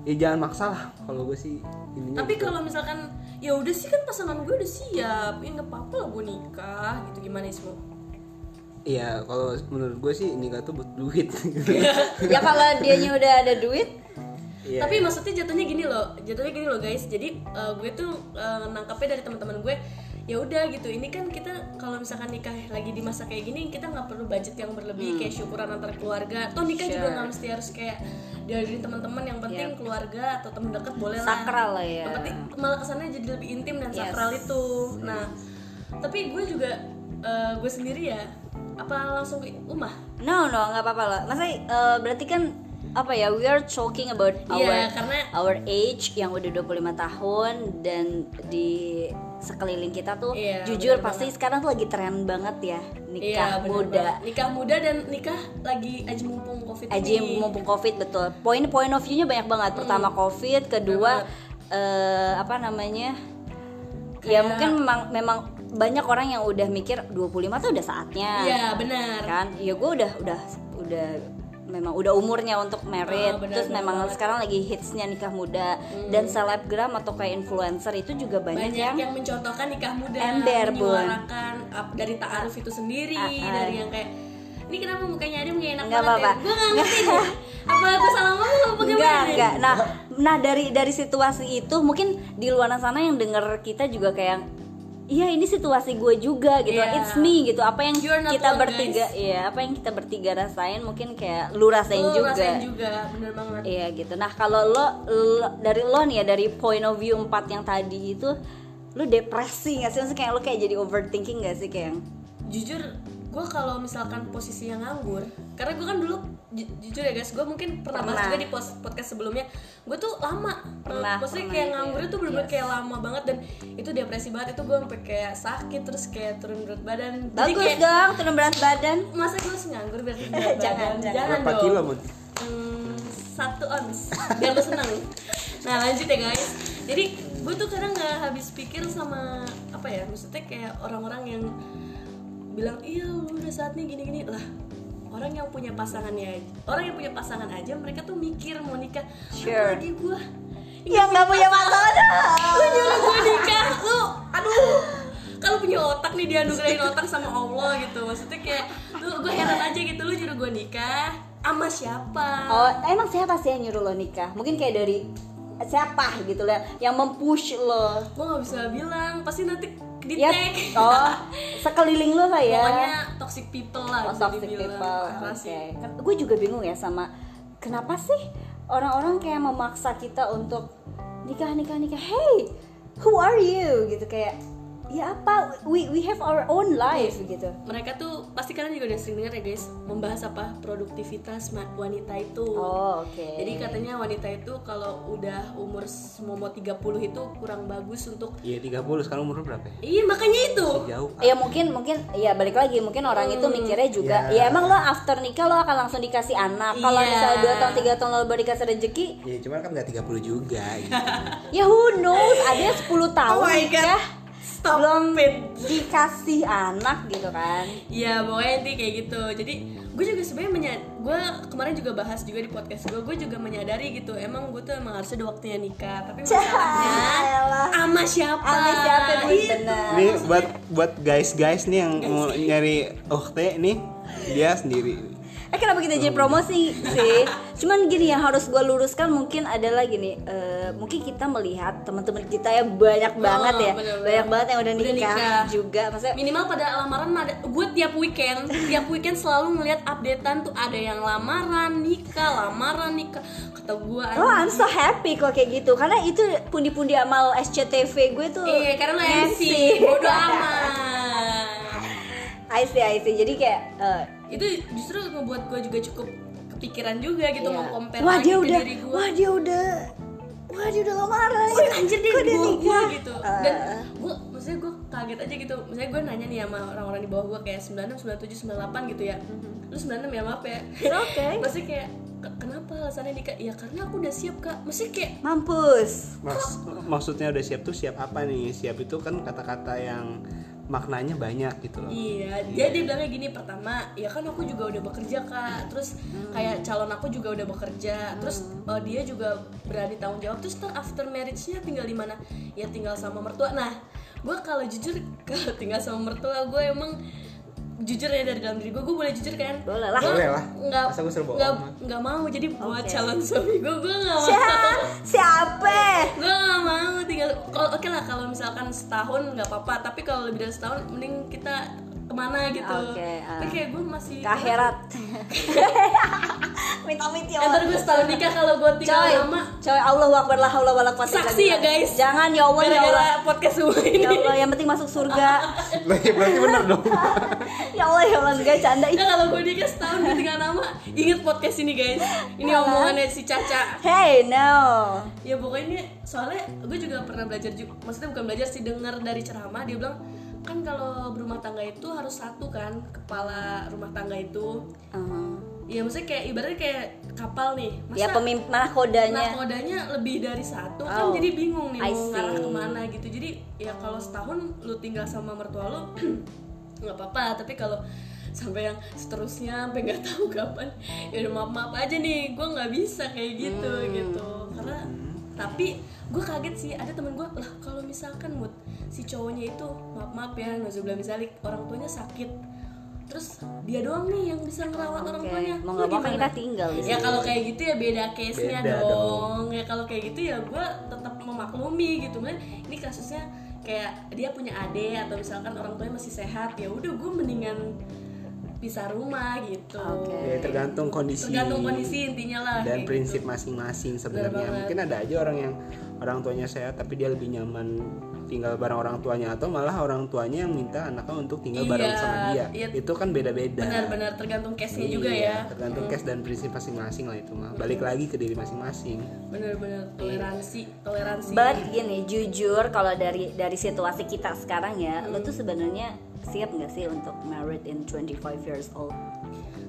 S3: ya jangan maksa lah kalau gue sih ininya
S1: tapi kalau misalkan ya udah sih kan pasangan gue udah siap ya nggak apa-apa lah gue nikah gitu gimana Ismo
S3: Iya, kalau menurut gue sih nikah tuh butuh duit.
S2: ya kalau dianya udah ada duit
S3: Iya.
S1: tapi maksudnya jatuhnya gini loh jatuhnya gini loh guys jadi eh, gue tuh eh, nangkapnya dari teman-teman gue ya udah gitu ini kan kita kalau misalkan nikah lagi di masa kayak gini kita nggak perlu budget yang
S3: Hmm.
S1: berlebih kayak syukuran antar keluarga toh nikah juga nggak mesti harus kayak dari teman-teman yang
S3: Iya.
S1: penting keluarga atau teman dekat boleh lah
S2: sakral lah ya
S1: yang penting malah kesannya jadi lebih intim dan sakral itu nah tapi gue juga eh, gue sendiri ya apa langsung ke rumah
S2: no no nggak apa-apa lah masa eh, berarti kan apa ya we are talking about our
S1: Iya, karena-
S2: our age yang udah 25 tahun dan di sekeliling kita tuh
S1: Iya, bener
S2: jujur
S1: Iya,
S2: pasti sekarang tuh lagi tren banget ya nikah
S1: bener
S2: muda
S1: banget. nikah muda dan nikah lagi aja mumpung covid
S2: aja
S1: ini
S2: mumpung covid betul poin point of view-nya banyak banget pertama
S1: Hmm,
S2: covid kedua eh, apa namanya ya
S1: Kayak-
S2: mungkin memang memang banyak orang yang udah mikir 25 tuh udah saatnya
S1: iya benar
S2: kan ya gue udah udah udah memang udah umurnya untuk
S1: Ah,
S2: merit
S1: benar,
S2: terus
S1: benar
S2: memang
S1: banget. Hmm.
S2: sekarang lagi hitsnya nikah muda dan selebgram atau kayak influencer itu juga banyak,
S1: banyak
S2: yang
S1: yang, mencontohkan nikah muda
S2: Ember, Bun.
S1: menyuarakan ap- dari taaruf itu sendiri
S2: Ah, ah.
S1: dari yang kayak ini kenapa mukanya Adam gak enak
S2: Nggak
S1: banget
S2: apa-apa.
S1: ya? Gue gak ngerti nih. Apa gue salah ngomong apa gimana
S2: enggak
S1: nih?
S2: enggak nah nah dari dari situasi itu mungkin di luar sana yang denger kita juga kayak iya ini situasi gue juga gitu
S1: Iya.
S2: it's me gitu apa yang
S1: You're not
S2: kita
S1: alone,
S2: bertiga iya apa yang kita bertiga rasain mungkin kayak lu rasain
S1: Lu
S2: juga
S1: rasain Oh, juga, bener banget
S2: Iya gitu. Nah kalau lo, lo- dari lo nih ya dari point of view 4 yang tadi itu lo depresi gak sih? Maksudnya kayak lo kayak jadi overthinking gak sih kayak yang
S1: jujur gue kalau misalkan posisi yang nganggur karena gue kan dulu ju- jujur ya guys gue mungkin pernah, bahas
S2: Pernah.
S1: juga di pos- podcast sebelumnya gue tuh lama eh,
S2: Pernah,
S1: maksudnya kayak
S2: pernah gitu
S1: nganggur
S2: ya.
S1: itu bener-bener kayak lama banget dan itu depresi banget itu gue sampai kayak sakit terus kayak turun berat badan jadi
S2: bagus
S1: kayak
S2: dong turun berat badan.
S1: masa gue harus nganggur biar turun berat
S2: Jangan,
S1: badan
S2: jangan.
S1: jangan
S3: berapa
S1: dong
S3: kilo Mut?
S1: Hmm, satu ons biar lo seneng nah lanjut ya guys jadi gue tuh kadang nggak habis pikir sama apa ya maksudnya kayak orang-orang yang bilang iya lu udah saatnya gini-gini lah orang yang punya pasangannya aja- orang yang punya pasangan aja mereka tuh mikir mau nikah
S2: Sure.
S1: apalagi gue Iya,
S2: Yang nggak punya pasangan.
S1: lu nyuruh gue nikah lu aduh kalau punya otak nih dianugerahin otak sama Allah gitu maksudnya kayak lu gue heran aja gitu lu nyuruh gue nikah sama siapa
S2: Oh emang siapa sih yang nyuruh lo nikah? Mungkin kayak dari siapa gitu lah yang mempush lo.
S1: gue nggak bisa bilang pasti nanti di
S2: Ya,
S1: tag
S2: oh sekeliling lo lah ya.
S1: pokoknya toxic people lah
S2: Oh,
S1: bisa
S2: toxic
S1: dibilang.
S2: people.
S1: Parah
S2: Oke.
S1: sih.
S2: Gue juga bingung ya sama kenapa sih orang-orang kayak memaksa kita untuk nikah nikah nikah. Hey, who are you? Gitu kayak ya apa? We we have our own life gitu.
S1: mereka tuh pasti kalian juga udah sering dengar ya guys membahas apa produktivitas ma- wanita itu
S2: Oh, oke.
S1: jadi katanya wanita itu kalau udah umur semua mau 30 itu kurang bagus untuk
S3: Iya 30 sekarang umur lu berapa ya?
S1: iya makanya itu
S3: Jauh.
S2: Ya mungkin mungkin ya balik lagi mungkin orang itu
S1: Hmm.
S2: mikirnya juga
S3: Ya.
S2: ya emang lo after nikah lo akan langsung dikasih anak. Kalau
S1: Iya.
S2: misalnya dua tahun tiga tahun lo baru dikasih rezeki,
S3: Ya cuman kan nggak 30 juga. Gitu.
S2: ya who knows ada yang 10 tahun
S1: Oh my God.
S2: nikah
S1: stop
S2: belum
S1: it.
S2: dikasih anak gitu kan.
S1: Iya pokoknya nanti kayak gitu Jadi gue juga sebenarnya menyad- Gue kemarin juga bahas juga di podcast gue Gue juga menyadari gitu Emang gue tuh emang harusnya udah waktunya nikah Tapi masalahnya
S2: Elah.
S1: Ama Nah, siapa?
S2: Sama siapa Iya. duit
S1: Gitu.
S2: bener
S3: Ini buat buat guys-guys nih yang mau nyari OKT nih dia sendiri.
S2: Eh kenapa kita jadi promosi sih? Cuman gini yang harus gue luruskan mungkin adalah gini eh, Mungkin kita melihat teman-teman kita ya banyak banget ya
S1: bener-bener.
S2: Banyak banget yang udah
S1: Oh, Udah
S2: nikah,
S1: nikah.
S2: juga Maksudnya
S1: Minimal pada lamaran ada gue tiap weekend, tiap weekend selalu ngeliat updatean tuh ada yang lamaran nikah, lamaran nikah. Kata gue
S2: Oh I'm so happy kok kayak gitu Karena itu pundi-pundi amal SCTV gue tuh
S1: Iya, karena lo MC, bodo amat.
S2: I see, I see Jadi kayak eh,
S1: itu justru ngebuat gue juga cukup kepikiran juga gitu
S2: iya.
S1: mau compare
S2: Wah
S1: lagi
S2: dia
S1: ke
S2: udah,
S1: diri gue
S2: wah dia udah Wah dia udah lamaran
S1: anjir dia
S2: Kok
S1: gue
S2: nikah Eh.
S1: gitu dan gue maksudnya gue kaget aja gitu misalnya gue nanya nih sama orang-orang di bawah gue kayak 96, 97, 98 gitu ya
S2: Mm-hmm.
S1: lu 96 ya maaf ya
S2: Oke.
S1: pasti kayak "Ke- kenapa alasannya nih kak ya karena aku udah siap kak mesti kayak
S2: Mampus.
S3: Mas- maksudnya udah siap tuh siap apa nih? Siap itu kan kata-kata yang maknanya banyak gitu loh.
S1: Iya, jadi dia bilangnya gini pertama, ya kan aku juga udah bekerja kak, terus
S2: Hmm.
S1: kayak calon aku juga udah bekerja, terus eh, dia juga berani tanggung jawab, terus ntar after marriage-nya tinggal di mana? Ya tinggal sama mertua. Nah, gue kalau jujur kalau tinggal sama mertua gue emang jujur ya dari dalam diri gue, gue boleh jujur kan?
S2: Boleh lah.
S1: Gua
S3: Boleh lah.
S1: Nggak,
S3: Masa gua serba
S1: nggak-
S3: bohong,
S1: nggak mau, jadi buat
S2: Oke.
S1: calon suami gue gue nggak mau.
S2: Siapa? Siapa?
S1: gue gak mau tinggal kalau oke lah kalau misalkan setahun nggak apa-apa tapi kalau lebih dari setahun mending kita kemana gitu
S2: Oke, ah.
S1: tapi kayak gue masih
S2: Ke akhirat. Minta minta. ya
S1: Eh, ntar gue setahun nikah kalau gue tinggal
S2: Coy,
S1: lama
S2: coy, Allah wakbar lah, Allah wala quwata illa
S1: Saksi ya,
S2: billah.
S1: guys.
S2: Jangan ya Allah, ya Allah.
S1: gara-gara podcast semua
S2: Ya
S1: ini
S2: Allah, yang penting masuk surga.
S3: Berarti berarti bener dong.
S2: ya Allah, ya Allah, enggak canda.
S1: Nah, kalau gue nikah setahun gue tinggal lama inget podcast ini guys ini omongannya si Caca
S2: Hey, no.
S1: ya pokoknya ini- soalnya gue juga pernah belajar juga maksudnya bukan belajar sih dengar dari ceramah dia bilang kan kalau berumah tangga itu harus satu kan kepala rumah tangga itu
S2: Uh,
S1: Iya maksudnya kayak ibaratnya kayak kapal nih Masa
S2: ya pemimpin mana kodanya?
S1: nakodanya Nah, lebih dari satu kan
S2: Oh,
S1: jadi bingung nih
S2: I
S1: mau ngarah
S2: see.
S1: kemana gitu Jadi ya kalau setahun lu tinggal sama mertua lu nggak apa-apa Tapi kalau sampai yang seterusnya sampai nggak tahu kapan ya udah maaf maaf aja nih gue nggak bisa kayak gitu
S2: Hmm.
S1: gitu karena tapi gue kaget sih ada temen gue lah kalau misalkan mood si cowoknya itu maaf maaf ya nazubillah misalnya orang tuanya sakit terus dia doang nih yang bisa ngerawat orang
S2: Oke,
S1: tuanya
S2: mau
S1: Lu
S2: nggak mau kan
S1: gimana?
S2: kita tinggal di
S1: ya
S2: sini.
S1: kalau kayak gitu ya beda case nya
S3: Beda
S1: dong.
S3: dong.
S1: ya kalau kayak gitu ya gue tetap memaklumi gitu kan ini kasusnya kayak dia punya adik atau misalkan orang tuanya masih sehat ya udah gue mendingan pisah rumah gitu
S2: Oke.
S3: Ya, tergantung kondisi.
S1: tergantung kondisi intinya lah
S3: dan
S1: kayak
S3: prinsip
S1: gitu.
S3: masing-masing sebenarnya mungkin ada aja orang yang orang tuanya sehat tapi dia lebih nyaman tinggal bareng orang tuanya atau malah orang tuanya yang minta anaknya untuk tinggal
S1: Iya,
S3: bareng sama dia
S1: iya.
S3: itu kan beda-beda
S1: benar-benar tergantung case nya
S3: Iya,
S1: juga ya
S3: tergantung case dan prinsip masing-masing lah itu mah balik lagi ke diri masing-masing
S1: benar-benar toleransi toleransi
S2: But gini, jujur kalau dari dari situasi kita sekarang ya,
S1: Hmm.
S2: lo tuh sebenarnya siap nggak sih untuk married in 25 years old?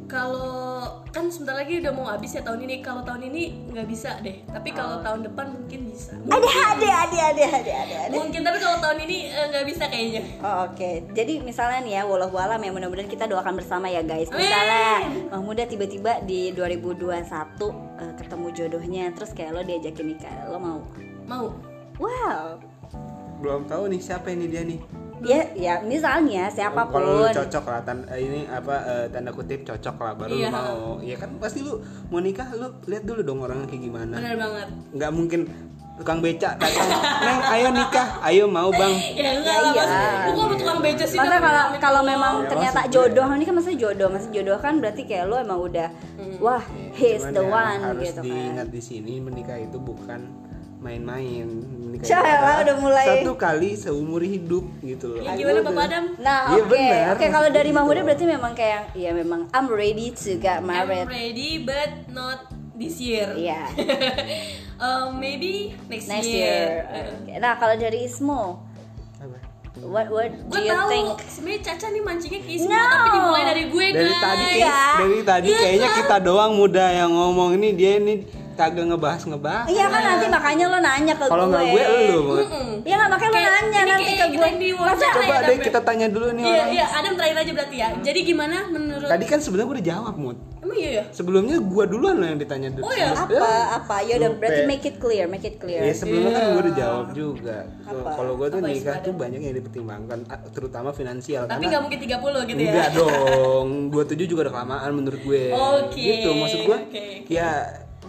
S1: kalau kan sebentar lagi udah mau habis ya tahun ini kalau tahun ini nggak bisa deh tapi kalau
S3: Ah.
S1: tahun depan mungkin bisa
S2: Ada, ada, ada, ada, ada, ada. ada.
S1: mungkin tapi kalau tahun ini eh, nggak bisa kayaknya
S2: Oh, Oke, jadi misalnya nih ya, walau walam ya mudah-mudahan kita doakan bersama ya guys. Misalnya Mahmuda tiba-tiba di 2021 eh, ketemu jodohnya, terus kayak lo diajakin nikah, lo mau?
S1: mau
S2: Wow.
S3: belum tahu nih siapa ini dia nih
S2: Ya, ya misalnya
S3: kalau lu
S2: siapapun.
S3: cocok lah tan- eh, ini apa eh, tanda kutip cocok lah baru
S1: Iya.
S3: lu mau ya kan pasti lu mau nikah lu lihat dulu dong orangnya
S2: Nah.
S3: kayak gimana
S1: benar banget
S3: nggak mungkin tukang becak datang neng ayo nikah ayo mau bang
S1: ya enggak lah
S2: iya.
S1: mas Lu kok sama tukang beca sih
S2: Masa
S1: Dok?
S2: kalau kalau memang
S3: Ya,
S2: ternyata
S3: maksudnya-
S2: jodoh ini kan maksudnya jodoh, maksudnya jodoh kan berarti kayak lo emang udah wah, he's
S3: Cuman
S2: the
S3: ya,
S2: one
S3: harus
S2: gitu kan.
S3: diingat di sini menikah itu bukan main-main menikah
S2: Cah,
S3: itu adalah
S2: udah mulai.
S3: satu kali seumur hidup gitu loh
S1: ya gimana
S3: Aduh,
S1: bapak
S3: udah.
S1: Adam
S2: Nah,
S3: Iya,
S2: oke.
S3: benar.
S2: Oke, kalau dari
S3: Gitu.
S2: Mahmuda berarti memang kayak ya memang I'm ready to get
S1: I'm
S2: married.
S1: ready but not this year
S2: Iya.
S1: Um, maybe next,
S2: next
S1: year,
S2: year. Oke. Nah kalau dari Ismo,
S3: Apa?
S2: what what do
S1: gue
S2: you
S1: tahu
S2: think?
S1: sebenarnya Caca nih mancingnya ke Ismo
S2: No.
S1: tapi dimulai dari gue
S3: dari
S1: guys
S3: tadi
S2: guys.
S3: kayak- dari tadi
S1: Iya
S3: kayaknya
S1: kan?
S3: kita doang muda yang ngomong ini dia ini kagak ngebahas ngebahas
S2: Iya kan nanti makanya lo nanya ke
S3: kalau
S2: gue.
S3: nggak gue lu banget.
S2: Iya nggak makanya lo
S1: Kayak-
S2: nanya
S1: ini
S2: nanti ke
S1: kayak
S2: gue.
S1: kita di wawancara
S3: coba
S1: ya,
S3: deh
S1: Adam.
S3: kita tanya dulu nih
S1: iya
S3: orang Hmm.
S1: iya Adam terakhir aja berarti ya jadi gimana menurut
S3: tadi kan sebenarnya gue udah jawab mut
S1: emang iya ya
S3: sebelumnya gue duluan loh yang ditanya dulu
S1: Oh, iya?
S2: Apa apa? Ya udah
S3: Lupa.
S2: berarti make it clear, make it clear.
S3: Ya sebelumnya kan gue udah jawab juga. Kalau- Kalau gue tuh
S1: iya. Apa
S3: nikah
S1: isinya?
S3: tuh banyak yang dipertimbangkan, ah, terutama finansial.
S1: tapi nggak
S3: karena
S1: mungkin 30 gitu ya
S3: enggak dong, 27 juga udah kelamaan menurut gue.
S1: Oke,
S3: Gitu maksud gue.
S1: oke, oke.
S3: Ya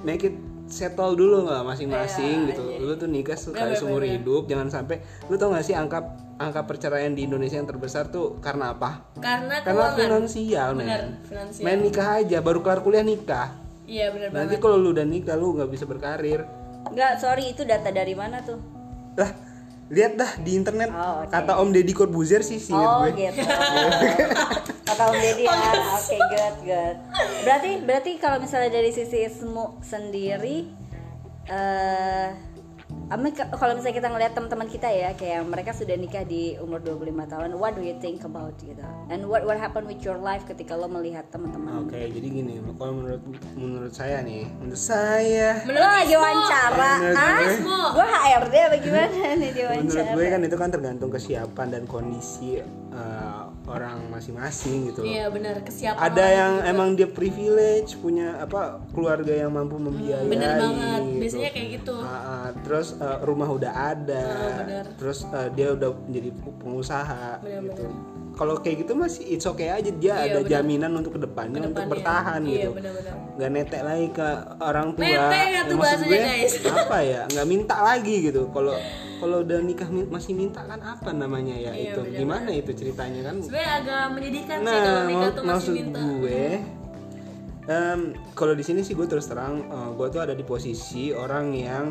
S3: make it settle dulu lah masing-masing gitu. Lu tuh nikah sekali
S1: Iya, Bener,
S3: seumur
S1: bener.
S3: hidup, jangan sampai lu tau gak sih angka angka perceraian di Indonesia yang terbesar tuh karena apa?
S1: karena
S3: Karena
S1: keuangan
S3: finansial,
S1: Bener,
S3: men.
S1: finansial.
S3: Main nikah aja, baru kelar kuliah nikah.
S1: iya benar
S3: Nanti
S1: banget
S3: kalau lu udah nikah lu nggak bisa berkarir.
S2: Enggak, sorry itu data dari mana tuh?
S3: lah lihat dah di internet
S2: Oh, oke.
S3: kata Om Deddy Corbuzier sih sih
S2: Oh
S3: gue
S2: gitu. Kata Om Deddy ya. Oke, good, good. Berarti berarti kalau misalnya dari sisi Ismo sendiri eh Ame ke- kalau misalnya kita ngelihat teman-teman kita ya kayak mereka sudah nikah di umur 25 tahun what do you think about gitu and what what happened with your life ketika lo melihat teman-teman
S3: Oke, jadi gini, kalau menurut menurut saya nih, menurut saya,
S2: lo lagi wawancara
S3: Menurut
S2: ah
S3: gue.
S2: gue HRD apa gimana nih di
S3: menurut
S2: wawancara
S3: gue kan itu kan tergantung kesiapan dan kondisi eh, orang masing-masing gitu. loh.
S1: Iya benar kesiapan.
S3: Ada yang
S1: gitu.
S3: emang dia privilege, punya apa keluarga yang mampu membiayai.
S1: bener banget.
S3: gitu.
S1: Biasanya kayak gitu.
S3: Ah, ah, terus eh, rumah udah ada,
S1: Ah, bener.
S3: terus eh, dia udah menjadi pengusaha
S1: Bener-bener.
S3: gitu. Kalau kayak gitu masih it's okay aja
S1: Iya,
S3: dia ada
S1: bener.
S3: jaminan untuk kedepannya, untuk
S1: Kedepannya.
S3: bertahan
S1: Iya,
S3: gitu.
S1: bener-bener.
S3: Nggak netek lagi ke orang tua. Ya,
S1: Netek nggak tuh
S3: Maksud
S1: bahasanya,
S3: gue,
S1: guys?
S3: Apa ya? Nggak minta lagi gitu. Kalau kalau udah nikah min- masih minta kan apa namanya
S1: Iya,
S3: ya itu?
S1: bener-bener.
S3: Gimana itu ceritanya kan?
S1: Sebenarnya agak menyedihkan sih kalau
S3: Nah,
S1: nikah tuh
S3: mak-
S1: masih
S3: maksud
S1: minta.
S3: gue, em, kalau di sini sih gue terus terang, eh, gue tuh ada di posisi orang yang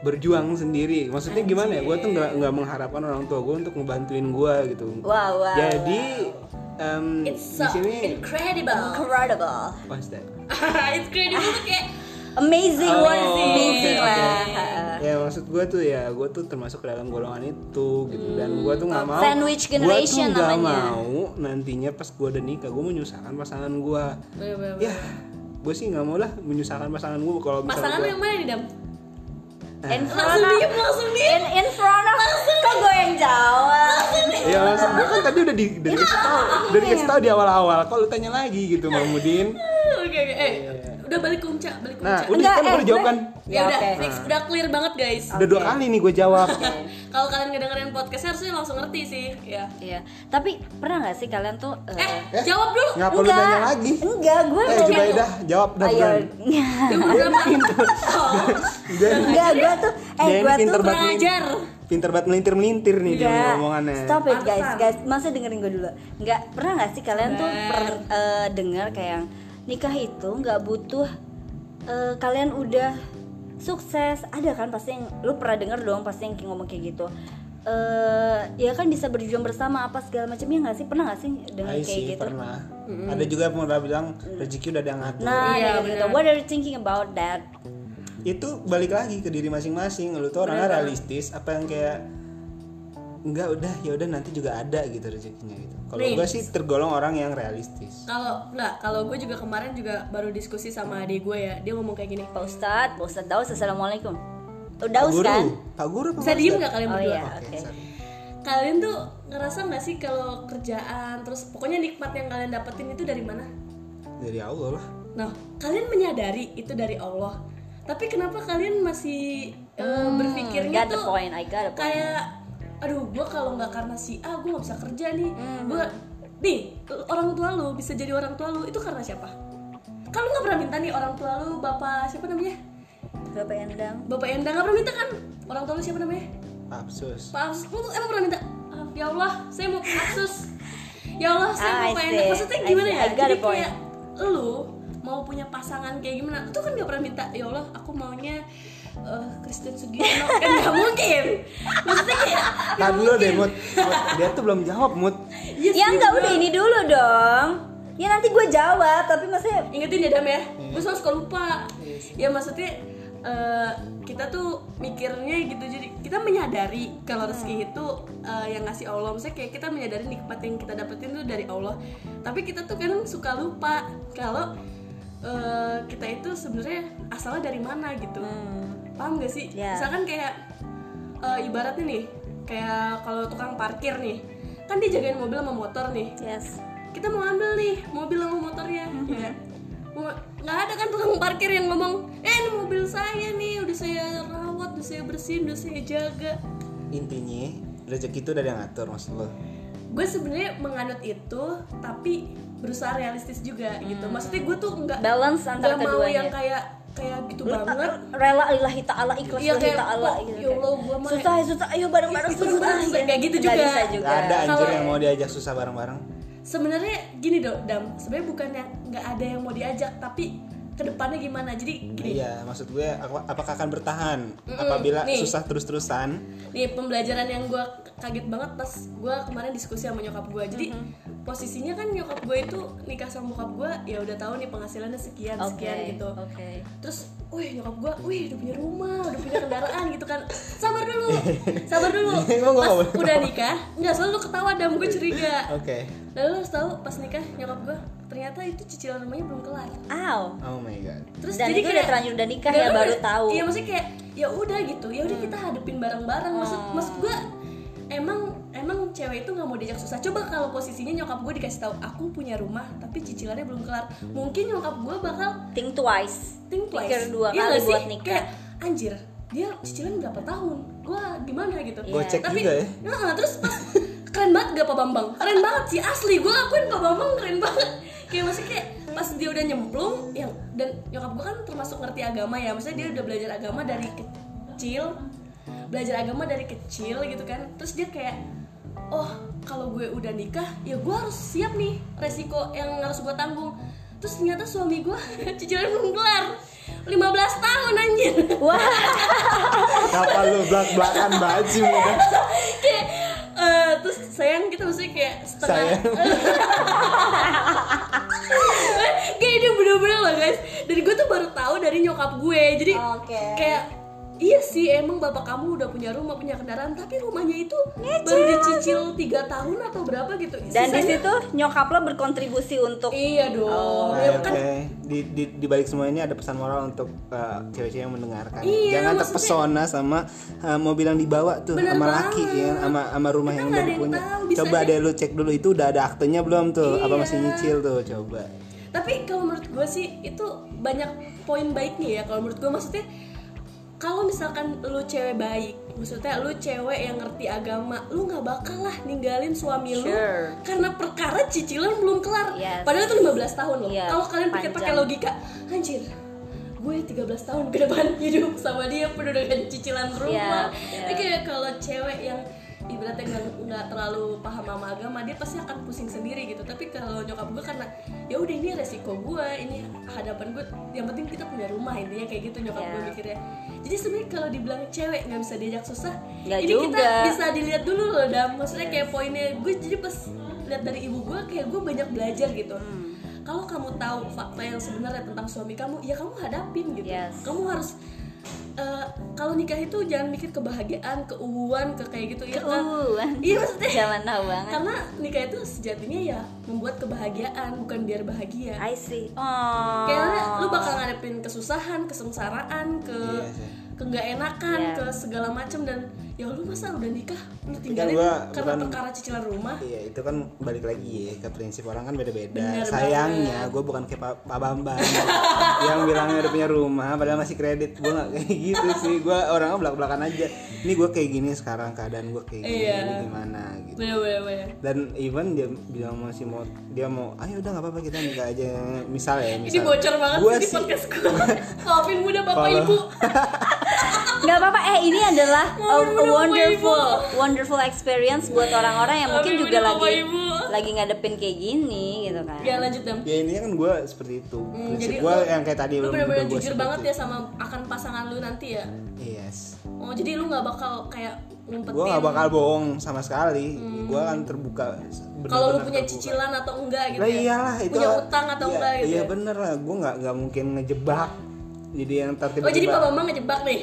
S3: berjuang sendiri. Maksudnya gimana ya? Gue tuh nggak nggak mengharapkan orang tua gue untuk ngebantuin gue gitu.
S2: wow wow
S3: Jadi em,
S1: It's
S3: di
S1: so
S3: sini,
S1: incredible.
S2: incredible
S3: what's that?
S1: incredible tuh
S3: Ah.
S1: kayak
S2: amazing
S3: Oh,
S2: lah
S3: oke,
S2: amazing
S3: oke.
S2: lah
S3: Ya maksud gue tuh ya, gue tuh termasuk ke dalam golongan itu gitu dan gue tuh nggak mau.
S2: Sandwich generation
S3: Gue tuh nggak
S2: namanya.
S3: mau nantinya pas gue udah nikah, gue menyusahkan pasangan gue.
S1: bener-bener.
S3: ya gue sih nggak mau lah menyusahkan pasangan gue kalau
S1: Pasangan
S3: misalnya
S1: lu yang mana nih Dam?
S2: in front
S1: Langsung
S2: of
S1: diem, langsung diem.
S2: in, in front of kok gue yang jawab
S3: ya maksud gue kan tadi udah di,
S2: Iya,
S3: dari kasih tau dari kasih
S2: ya?
S3: tau di awal-awal kalau tanya lagi gitu Mamudin
S1: Oke oke. Eh, udah balik ke Umca, balik ke
S3: Iya, nah
S1: Umca.
S3: udah kan
S2: eh,
S3: baru jawab kan
S2: gue-
S1: Ya, udah,
S2: oke.
S1: fix, udah clear banget guys.
S3: udah dua kali nih gue jawab
S1: Kalau kalian ngedengerin podcastnya harusnya langsung ngerti sih, ya.
S2: Iya, tapi pernah nggak sih kalian tuh eh,
S1: Eh, jawab dulu.
S3: nggak perlu
S2: enggak,
S3: tanya lagi
S2: Enggak, gue
S3: eh
S2: mau-
S3: Jubaidah jawab dah
S2: Ayo. Eh,
S3: Bran.
S1: Ya udah
S3: Gitu.
S1: Oh. banget.
S3: Dan
S2: Enggak, gue tuh eh
S3: Jangan
S2: gue tuh
S3: pinter banget.
S1: Pengajar.
S3: pinter banget melintir melintir nih dia
S2: Enggak.
S3: ngomongannya
S2: Stop it guys,
S1: Alasan.
S2: guys. Masa dengerin gue dulu. Enggak pernah nggak sih kalian tuh
S1: Sabar.
S2: per, eh, dengar kayak yang nikah itu nggak butuh eh, kalian udah sukses. Ada kan pasti yang lu pernah denger dong pasti yang ngomong kayak gitu. Eh, ya kan bisa berjuang bersama apa segala macam ya nggak sih pernah nggak sih dengar
S3: Hai
S2: kayak
S3: Iya sih
S2: gitu Mm.
S3: pernah ada juga yang pernah bilang rezeki udah ada yang ngatur
S2: nah
S1: Iya,
S2: kayak gitu
S1: benar.
S2: what are you thinking about that
S3: itu balik lagi ke diri masing-masing lu tuh orangnya realistis apa yang kayak enggak udah ya udah nanti juga ada gitu rezekinya gitu kalau
S1: Nih.
S3: gua sih tergolong orang yang realistis
S1: Kalau nggak, kalau gue juga kemarin juga baru diskusi sama adik gue ya. Dia ngomong kayak gini.
S2: Pak Ustadz, Pak Ustadz Daus, Assalamualaikum Tuh Daus
S3: guru
S2: kan?
S3: pak guru apa
S1: Bisa
S3: Pak
S1: diem
S3: Ustadz?
S1: nggak kalian
S2: Oh
S1: berdua?
S2: iya,
S3: Oke,
S2: oke
S3: sorry.
S1: Kalian tuh ngerasa nggak sih kalau kerjaan, terus pokoknya nikmat yang kalian dapetin itu dari mana?
S3: dari allah lah
S1: Nah, kalian menyadari itu dari Allah. Tapi kenapa kalian masih eh,
S2: Hmm,
S1: berpikirnya
S2: Got the
S1: tuh
S2: point, I got the point
S1: kayak aduh gue kalau nggak karena si A gue nggak bisa kerja nih
S2: Hmm.
S1: gue nih orang tua lu bisa jadi orang tua lu itu karena siapa kalau nggak pernah minta nih orang tua lu bapak siapa namanya
S2: Bapak Endang
S1: bapak Endang nggak pernah minta kan orang tua lu siapa namanya
S3: absus
S1: pak Absus lu emang pernah minta "Ah, ya Allah saya mau ke Absus ya Allah saya
S2: Ah,
S1: mau
S2: I
S1: ke
S2: see.
S1: Endang maksudnya
S2: I
S1: gimana ya
S2: see. I got
S1: jadi
S2: the point.
S1: kayak lu mau punya pasangan kayak gimana itu kan nggak pernah minta ya Allah aku maunya eh, Kristen Sugiono kan nggak mungkin maksudnya kayak
S3: Tahan dulu deh mut Mut, dia tuh belum jawab mut
S1: Yes,
S2: Ya
S1: yes,
S2: enggak,
S1: yes.
S2: udah ini dulu dong Ya nanti gue jawab, tapi maksudnya
S1: Ingetin ya Dam ya Gue selalu suka lupa Ya maksudnya eh, Kita tuh mikirnya gitu Jadi kita menyadari Kalau rezeki itu eh, Yang ngasih Allah Maksudnya kayak kita menyadari nikmat yang kita dapetin tuh dari Allah Tapi kita tuh kadang suka lupa Kalau eh, kita itu sebenarnya asalnya dari mana gitu Paham gak sih?
S2: Hmm. Ya.
S1: Misalkan kayak eh, Ibaratnya nih Kayak kalau tukang parkir nih Kan dia jagain mobil sama motor nih
S2: Yes
S1: kita mau ambil nih mobil sama motornya ya kan? Mau- nggak ada kan tukang parkir yang ngomong eh ini mobil saya nih udah saya rawat udah saya bersihin udah saya jaga
S3: intinya rezeki itu udah ada yang ngatur maksud lo
S1: gue sebenarnya menganut itu tapi berusaha realistis juga gitu maksudnya gue tuh nggak
S2: Mm. Balance
S1: nggak
S2: antara
S1: mau yang
S2: keduanya
S1: kayak kayak gitu banget
S2: Rela lillahi ta'ala, ikhlas
S1: Iya,
S2: lillahi
S1: kayak,
S2: ta'ala
S1: kok,
S2: gitu
S1: ya Allah, gua mah-
S2: Susah, susah, ayo bareng-bareng
S1: Gitu, bareng-bareng,
S2: susah
S1: kayak gitu
S2: Nggak
S1: juga.
S2: bisa juga
S3: nggak ada anjir
S1: Kalau-
S3: yang mau diajak susah bareng-bareng
S1: sebenarnya gini dok dam sebenarnya bukannya nggak ada yang mau diajak tapi kedepannya gimana jadi gini
S3: Iya, maksud gue, aku- apakah akan bertahan
S1: Mm-mm,
S3: apabila
S1: nih.
S3: susah terus-terusan?
S1: nih Iya, pembelajaran yang gue kaget banget pas gue kemarin diskusi sama nyokap gue jadi
S2: Mm-hmm.
S1: posisinya kan nyokap gue itu nikah sama bokap gue ya udah tahu nih penghasilannya sekian sekian gitu
S2: Oke.
S1: terus wih nyokap gue wih udah punya rumah udah punya kendaraan gitu kan sabar dulu sabar dulu
S3: Emang gua
S1: pas
S3: nggak boleh
S1: udah nikah nggak selalu ketawa dam gue curiga
S3: Oke.
S1: lalu lu harus tahu pas nikah nyokap gue ternyata itu cicilan rumahnya belum kelar
S2: Ow.
S3: Oh my god.
S1: terus
S2: Dan
S1: jadi
S2: itu udah
S1: kayak-
S2: terlanjur udah nikah
S1: Dan
S2: ya
S1: lu
S2: baru
S1: udah-
S2: tahu.
S1: iya maksudnya kayak ya udah gitu ya udah kita hadepin bareng-bareng maksud
S2: Ah.
S1: maksud gue emang emang cewek itu nggak mau diajak susah coba kalau posisinya nyokap gue dikasih tahu aku punya rumah tapi cicilannya belum kelar mungkin nyokap gue bakal
S2: Think twice.
S1: think twice
S2: Pikir dua
S1: Iya
S2: kali
S1: nggak sih?
S2: buat nikah.
S1: kayak anjir dia cicilan berapa tahun gua gimana gitu
S2: Iya.
S3: Gocek
S1: tapi
S3: juga ya.
S1: Nah, terus pas keren banget gak Pak Bambang keren banget sih asli gua akuin Pak Bambang keren banget kayak masih kayak pas dia udah nyemplung yang dan nyokap gua kan termasuk ngerti agama ya maksudnya dia udah belajar agama dari kecil belajar agama dari kecil gitu kan terus dia kayak oh kalau gue udah nikah ya gua harus siap nih resiko yang harus gua tanggung terus ternyata suami gua cicilan belum kelar 15 tahun anjir
S2: Wah.
S3: Kapan lu belak belakan banget sih muda?
S1: kayak eh, terus sayang kita mesti kayak setengah
S3: Sayang.
S1: kayak ini bener-bener loh guys dan gue tuh baru tahu dari nyokap gue jadi
S2: Oke.
S1: kayak Iya sih, emang bapak kamu udah punya rumah, punya kendaraan, tapi rumahnya itu baru dicicil tiga tahun atau berapa gitu.
S2: Dan di
S1: Sisanya-
S2: situ nyokap lo berkontribusi untuk
S1: iya dong.
S2: Oh,
S1: ya
S3: Nah,
S1: kan
S3: oke. Di, di, di balik semua ini ada pesan moral untuk uh, cewek-cewek yang mendengarkan.
S1: Iya,
S3: Jangan
S1: maksudnya-
S3: terpesona sama uh, mobil yang dibawa tuh
S1: Bener
S3: sama laki
S1: banget.
S3: ya, sama sama rumah
S1: Kita
S3: yang
S1: nggak
S3: udah
S1: ada yang
S3: punya.
S1: tahu, bisa
S3: Coba
S1: aja-
S3: deh lu cek dulu itu udah ada aktenya belum tuh? Apa
S1: Iya.
S3: masih nyicil tuh? Coba.
S1: tapi kalau menurut gue sih itu banyak poin baiknya ya kalau menurut gue maksudnya kalau misalkan lu cewek baik maksudnya lu cewek yang ngerti agama lu nggak bakal lah ninggalin suami lu
S2: Sure.
S1: karena perkara cicilan belum kelar
S2: Yes.
S1: padahal itu 15 tahun loh
S2: Iya,
S1: kalau kalian pikir pakai
S2: panjang.
S1: logika anjir gue 13 tahun ke depan hidup sama dia penuh dengan cicilan rumah
S2: Iya,
S1: Tapi kayak kalau cewek yang ibaratnya nggak nggak terlalu paham sama agama dia pasti akan pusing sendiri gitu tapi kalau nyokap gue karena ya udah ini resiko gue ini hadapan gue yang penting kita punya rumah intinya kayak gitu nyokap gue
S2: Ya.
S1: mikirnya jadi sebenarnya kalau dibilang cewek nggak bisa diajak susah
S2: Nggak
S1: ini kita
S2: juga.
S1: bisa Nah, dilihat dulu loh dam maksudnya kayak poinnya gue jadi pas lihat dari ibu gue kayak gue banyak belajar gitu kalau kamu tahu fakta yang sebenarnya tentang suami kamu ya kamu hadapin gitu
S2: Yes.
S1: kamu harus eh, kalau nikah itu jangan mikir kebahagiaan, keuuan, ke kayak gitu ya kan?
S2: Keuuan.
S1: Iya maksudnya
S2: Jangan tahu banget.
S1: karena nikah itu sejatinya ya membuat kebahagiaan bukan biar bahagia.
S2: I see. Oh.
S1: Kayaknya lu bakal ngadepin kesusahan, kesengsaraan, ke
S3: Iya sih.
S1: ke nggak enakan,
S2: Iya.
S1: ke segala macam dan ya lu masa udah nikah lu tinggalin
S3: gua
S1: karena
S3: bukan-
S1: perkara cicilan rumah.
S3: Iya itu kan balik lagi ya ke prinsip orang kan beda-beda.
S1: Bener
S3: Sayangnya gue bukan kayak Pak, Pak Bambang yang bilangnya udah punya rumah padahal masih kredit. Gue nggak kayak gitu sih. Gue orangnya belak-belakan aja. Ini gue kayak gini sekarang keadaan gue kayak gini
S1: Iya.
S3: ini gimana gitu.
S1: Bener bener bener.
S3: Dan even dia bilang masih mau dia mau ayo udah nggak apa-apa kita nikah aja misal ya
S1: Ini
S3: misal.
S1: bocor banget
S3: Gua
S1: di
S3: sih-
S1: podcast gue. Maafin muda bapak
S3: Kalau-
S1: ibu.
S2: Nggak apa-apa. Eh ini adalah a, a
S1: Waduh,
S2: wonderful,
S1: Bapak
S2: wonderful experience buat orang-orang yang mungkin
S1: Amin,
S2: juga
S1: Bapak
S2: lagi
S1: Ibu.
S2: lagi ngadepin kayak gini gitu kan.
S1: Ya lanjut dam.
S3: Ya ini kan gue seperti itu.
S1: Hmm,
S3: prinsip
S1: jadi
S3: gue
S1: lu-
S3: yang kayak tadi
S1: lu
S3: belum
S1: bener-bener jujur
S3: gitu.
S1: banget ya sama akan pasangan lu nanti ya
S3: Yes.
S1: oh jadi lu nggak bakal kayak ngumpetin
S3: gue gak bakal bohong sama sekali gue kan terbuka bener-bener
S1: Hmm. kalau lu punya
S3: terbuka.
S1: cicilan atau enggak gitu
S3: lah
S1: ya?
S3: iyalah itu
S1: punya utang atau
S3: Iya-
S1: enggak gitu
S3: iya
S1: ya?
S3: bener lah gue nggak nggak mungkin ngejebak jadi yang tertiba
S1: oh jadi pak bambang ngejebak nih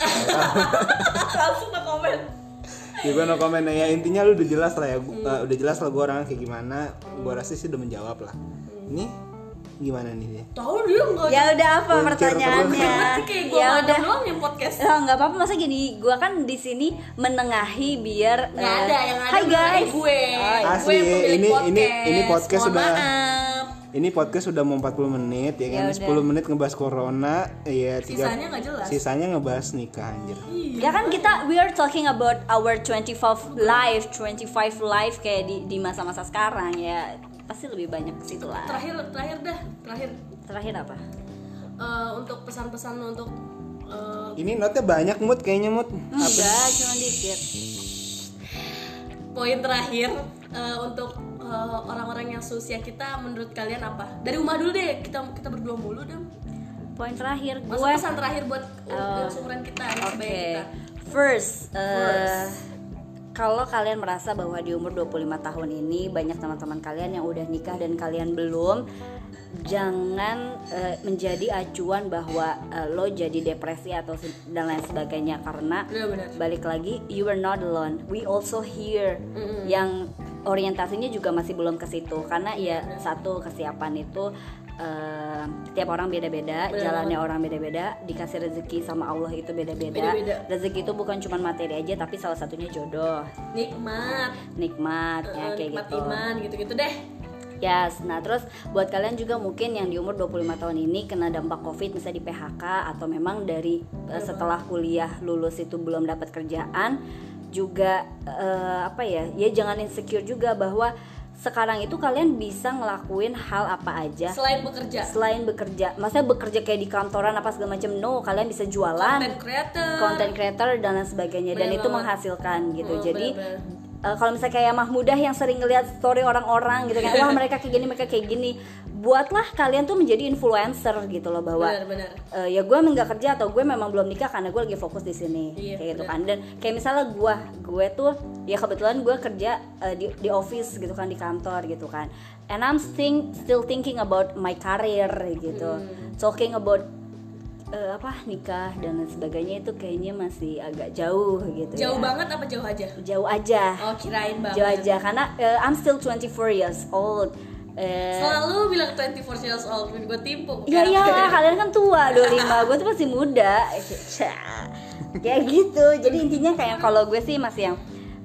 S1: langsung ke komen
S3: ya gue no comment ya intinya lu udah jelas lah ya Gua-
S1: Hmm.
S3: eh, udah jelas lah gue orangnya kayak gimana gue rasa sih udah menjawab lah
S1: Hmm.
S3: ini gimana nih dia
S1: tahu dia enggak
S2: Ya udah apa
S3: Kuncir
S2: pertanyaannya?
S1: Pasti Kan kayak gue
S2: Ya
S1: ada
S2: udah.
S1: doang yang podcast
S2: Oh, nggak apa-apa masa gini, gua kan di sini menengahi biar
S1: nggak
S2: eh,
S1: ada yang ada
S2: Hai
S1: malah
S2: guys. Oh,
S1: gue
S3: Asli,
S1: gue yang pemilik
S3: ini-
S1: podcast.
S3: ini- ini podcast
S1: Mohon
S3: sudah-
S1: maaf.
S3: ini podcast udah mau 40 menit ya kan
S2: Ya udah.
S3: 10 menit ngebahas corona ya tiga-
S1: Sisanya nggak jelas. Iya.
S3: sisanya ngebahas nikah anjir
S2: Ya kan kita we are talking about our 25 life, 25 life kayak di di masa-masa sekarang ya. Pasti lebih banyak ke situ lah.
S1: terakhir terakhir dah terakhir
S2: Terakhir apa?
S1: eh, untuk pesan-pesan untuk eh,
S3: ini notnya banyak mood kayaknya mood
S2: Enggak, Iya, cuma dikit.
S1: poin terakhir eh, untuk eh, orang-orang yang seusia kita menurut kalian apa dari rumah dulu deh kita kita berdua mulu dong
S2: Poin terakhir
S1: masa
S2: gue
S1: pesan
S2: Oh.
S1: terakhir buat uh, yang seumuran kita yang
S2: Oke.
S1: sebaya kita
S2: First, eh,
S1: First.
S2: kalau kalian merasa bahwa di umur 25 tahun ini banyak teman-teman kalian yang udah nikah dan kalian belum jangan eh, menjadi acuan bahwa eh, lo jadi depresi atau se- dan lain sebagainya karena
S1: Benar-benar.
S2: balik lagi you are not alone we also here yang orientasinya juga masih belum ke situ karena ya satu kesiapan itu eh, tiap orang beda-beda
S1: Benar
S2: jalannya orang beda-beda dikasih rezeki sama Allah itu beda-beda
S1: Beda-beda.
S2: rezeki itu bukan cuma materi aja tapi salah satunya jodoh
S1: nikmat
S2: nikmat
S1: eh,
S2: ya kayak
S1: nikmat
S2: gitu
S1: iman gitu-gitu deh
S2: Yes, nah terus buat kalian juga mungkin yang di umur 25 tahun ini kena dampak covid misalnya di PHK atau memang dari eh, setelah kuliah lulus itu belum dapat kerjaan juga eh, apa ya ya jangan insecure juga bahwa sekarang itu kalian bisa ngelakuin hal apa aja
S1: selain bekerja
S2: selain bekerja maksudnya bekerja kayak di kantoran apa segala macam no kalian bisa jualan
S1: content creator
S2: content creator dan lain sebagainya dan
S1: Bener
S2: itu
S1: banget.
S2: menghasilkan gitu
S1: Hmm,
S2: jadi
S1: bener-bener.
S2: eh, kalau misalnya kayak Mahmudah yang sering ngeliat story orang-orang gitu kan wah mereka kayak gini mereka kayak gini buatlah kalian tuh menjadi influencer gitu loh bahwa
S1: benar-benar
S2: eh, ya gue nggak kerja atau gue memang belum nikah karena gue lagi fokus di sini
S1: Iya,
S2: kayak gitu
S1: benar.
S2: kan dan kayak misalnya gue gue tuh ya kebetulan gue kerja eh, di di office gitu kan di kantor gitu kan and I'm think, still thinking about my career gitu
S1: Hmm.
S2: talking about eh, apa nikah dan lain sebagainya itu kayaknya masih agak jauh gitu
S1: jauh
S2: ya.
S1: banget apa jauh aja
S2: jauh aja
S1: oh kirain
S2: Ah, jauh
S1: banget
S2: aja karena eh, I'm still 24 years old Eh,
S1: selalu bilang 24 years old gue timpuk
S2: Ya
S1: Karena-
S2: iyalah kalian kan tua 25 Gue tuh masih muda Cah. Kayak gitu Jadi intinya kayak kalau gue sih masih yang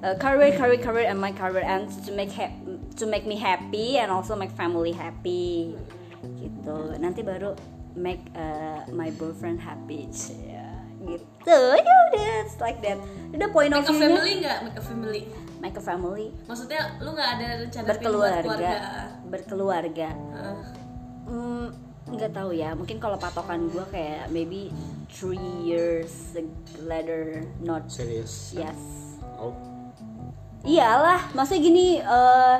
S2: uh, Career, career, career and my career And to make, hap- to make me happy And also make family happy Gitu Nanti baru make uh, my boyfriend happy Cah. Gitu Ya udah it's like that Udah point of
S1: make a
S2: view
S1: family nggak make a family
S2: Make a family
S1: maksudnya lu nggak ada rencana pengen buat Ah.
S2: Berkeluarga Berkeluarga
S1: Heeh.
S2: Hmm, nggak tahu ya mungkin kalau patokan gue kayak maybe three years later not
S3: serius
S2: yes
S3: oh
S2: iyalah maksudnya gini eh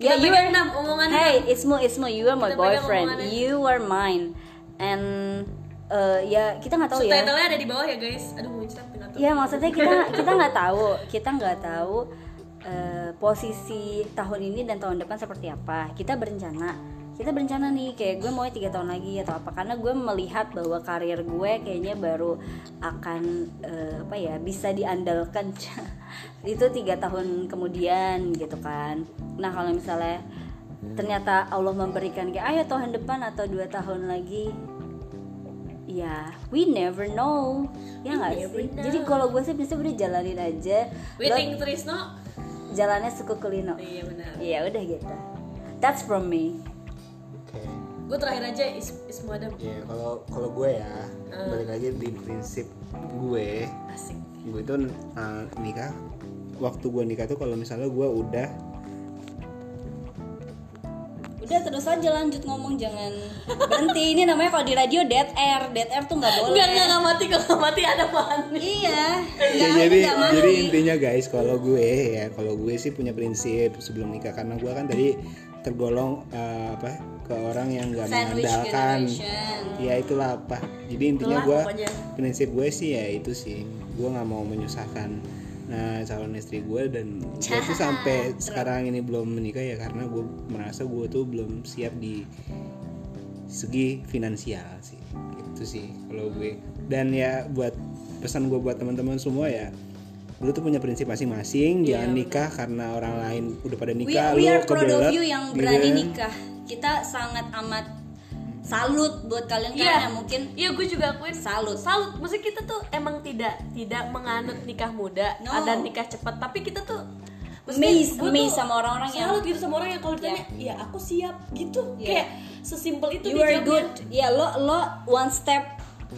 S1: kita
S2: ya you
S1: pegang
S2: are-
S1: enam omongan
S2: hey Ismu Ismu you are my
S1: Kita pegang
S2: boyfriend
S1: omongannya.
S2: you are mine and eh, ya kita nggak tahu ya
S1: subtitlenya ada di bawah ya guys aduh muncrat atau
S2: ya maksudnya kita kita nggak tahu kita nggak tahu eh, posisi tahun ini dan tahun depan seperti apa kita berencana kita berencana nih kayak gue mau tiga tahun lagi atau apa karena gue melihat bahwa karir gue kayaknya baru akan eh, apa ya bisa diandalkan itu tiga tahun kemudian gitu kan nah kalau misalnya ternyata Allah memberikan kayak ayo tahun depan atau dua tahun lagi ya we never know ya nggak
S1: never
S2: sih
S1: know.
S2: jadi kalau gue sih biasanya udah jalanin aja
S1: waiting
S2: Lo-
S1: Trisno
S2: jalannya suku kulino
S1: iya benar
S2: ya udah gitu that's from me
S3: oke
S1: gue terakhir aja is Ismu Adam
S3: ya kalau kalau gue ya balik lagi di prinsip gue
S1: asik
S3: gue itu uh, nikah waktu gue nikah tuh kalau misalnya gue udah
S2: udah terus aja lanjut ngomong jangan berhenti ini namanya kalau di radio dead air dead air tuh nggak boleh
S1: Enggak, enggak, enggak mati, kalau nggak mati ada bahan
S2: iya
S3: Ya, jadi jadi intinya guys kalau gue ya kalau gue sih punya prinsip sebelum nikah karena gue kan tadi tergolong uh, apa ke orang yang nggak mengandalkan ya itulah apa jadi
S1: Itulah
S3: intinya gue
S1: pokoknya.
S3: prinsip gue sih ya itu sih gue nggak mau menyusahkan nah calon istri gue dan gue tuh sampai sekarang ini belum menikah ya karena gue merasa gue tuh belum siap di segi finansial sih itu sih kalau gue dan ya buat pesan gue buat teman-teman semua ya lu tuh punya prinsip masing-masing jangan nikah karena orang lain udah pada
S2: we, Iya,
S3: nikah
S2: we
S3: lu
S2: are proud of
S3: kebelet,
S2: you yang
S3: gitu
S2: berani
S3: kan.
S2: nikah kita sangat amat salut buat kalian kalian
S1: Iya.
S2: yang mungkin
S1: Iya gue juga akuin
S2: Salut.
S1: Salut Maksudnya kita tuh emang tidak Tidak menganut nikah muda
S2: No.
S1: Dan nikah cepat Tapi kita tuh maksudnya
S2: amazed
S1: gue
S2: amazed
S1: tuh
S2: sama orang-orang yang
S1: Salut gitu sama orang yang kalau ditanya Ya aku siap gitu
S2: Iya.
S1: Kayak sesimpel itu
S2: you are
S1: dijawabnya.
S2: good ya lo lo one step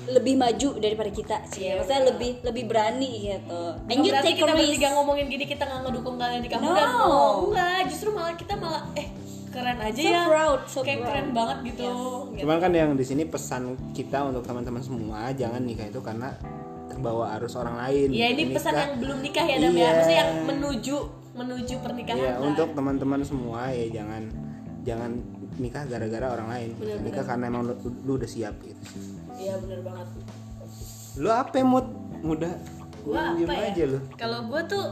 S2: lebih maju daripada kita sih
S1: Iya,
S2: maksudnya lebih lebih berani gitu and
S1: Bukan
S2: you
S1: berarti
S2: take a
S1: kita
S2: risk
S1: bertiga ngomongin gini kita nggak ngedukung kalian nikah
S2: No.
S1: muda no enggak justru malah kita malah eh keren aja
S2: So
S1: ya
S2: proud, so
S1: kayak
S2: proud.
S1: keren banget gitu, Gitu.
S3: Cuman kan yang di sini pesan kita untuk teman-teman semua jangan nikah itu karena terbawa arus orang lain.
S1: ya ini
S3: Nikah-
S1: pesan yang belum nikah ya Dam ya
S3: Iya.
S1: maksudnya yang menuju menuju pernikahan
S3: Iya,
S1: lah.
S3: untuk teman-teman semua ya jangan jangan nikah gara-gara orang lain. Nikah karena emang lu, lu udah siap gitu.
S1: iya bener banget
S3: Lu apa mut muda?
S1: Gua
S3: Diem
S1: apa ya?
S3: aja lu.
S1: Kalau gue tuh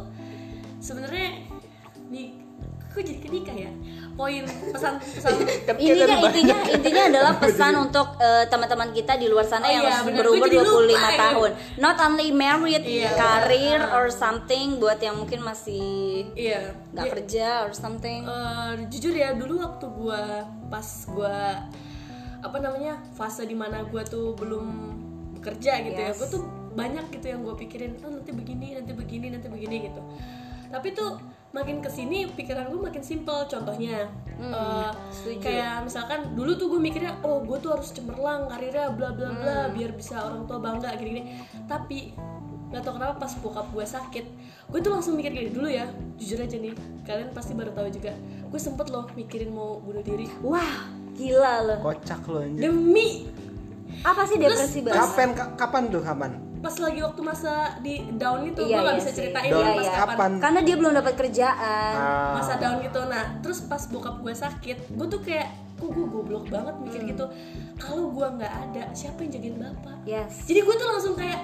S1: sebenarnya nih kok jadi kenikah ya poin pesan pesan
S3: Kan kayak
S2: Intinya
S3: tadi banyak.
S2: intinya intinya adalah pesan untuk eh, teman-teman kita di luar
S1: Oh
S2: sana yang
S1: iya,
S2: masih
S1: bener.
S2: berumur
S1: Gue jadi
S2: 25
S1: lupa ya.
S2: tahun. Not only married,
S1: Iya,
S2: karir
S1: bener.
S2: or something buat yang mungkin masih
S1: iya
S2: nggak
S1: Ya,
S2: kerja or something.
S1: eh, jujur ya dulu waktu gua pas gua apa namanya fase dimana gua tuh belum bekerja gitu ya
S2: Yes.
S1: gua tuh banyak gitu yang gua pikirin "Ah, nanti begini nanti begini nanti begini gitu tapi tuh makin kesini pikiran gua makin simple contohnya eh,
S2: Hmm, setuju.
S1: kayak misalkan dulu tuh gue mikirnya oh gue tuh harus cemerlang karirnya bla bla bla
S2: Hmm.
S1: biar bisa orang tua bangga gini gini tapi nggak tau kenapa pas bokap gue sakit gue tuh langsung mikir gini dulu ya jujur aja nih kalian pasti baru tahu juga gue sempet loh mikirin mau bunuh diri
S2: Wah, gila loh.
S4: Kocak lu anjir.
S1: demi
S2: Apa sih depresi banget?
S4: Kapan ka- kapan tuh kapan?
S1: pas lagi waktu masa di down itu gue
S2: Iya,
S1: nggak
S2: iya
S1: bisa
S2: sih.
S1: ceritain
S4: Down
S1: ya
S2: iya.
S1: pas
S4: kapan?
S2: Karena dia belum dapat kerjaan.
S4: Ah,
S1: masa down gitu nah terus pas bokap gue sakit gue tuh kayak kok gue goblok banget mikir
S2: Hmm.
S1: gitu kalau gue nggak ada siapa yang jagain bapak
S2: Yes.
S1: jadi gue tuh langsung kayak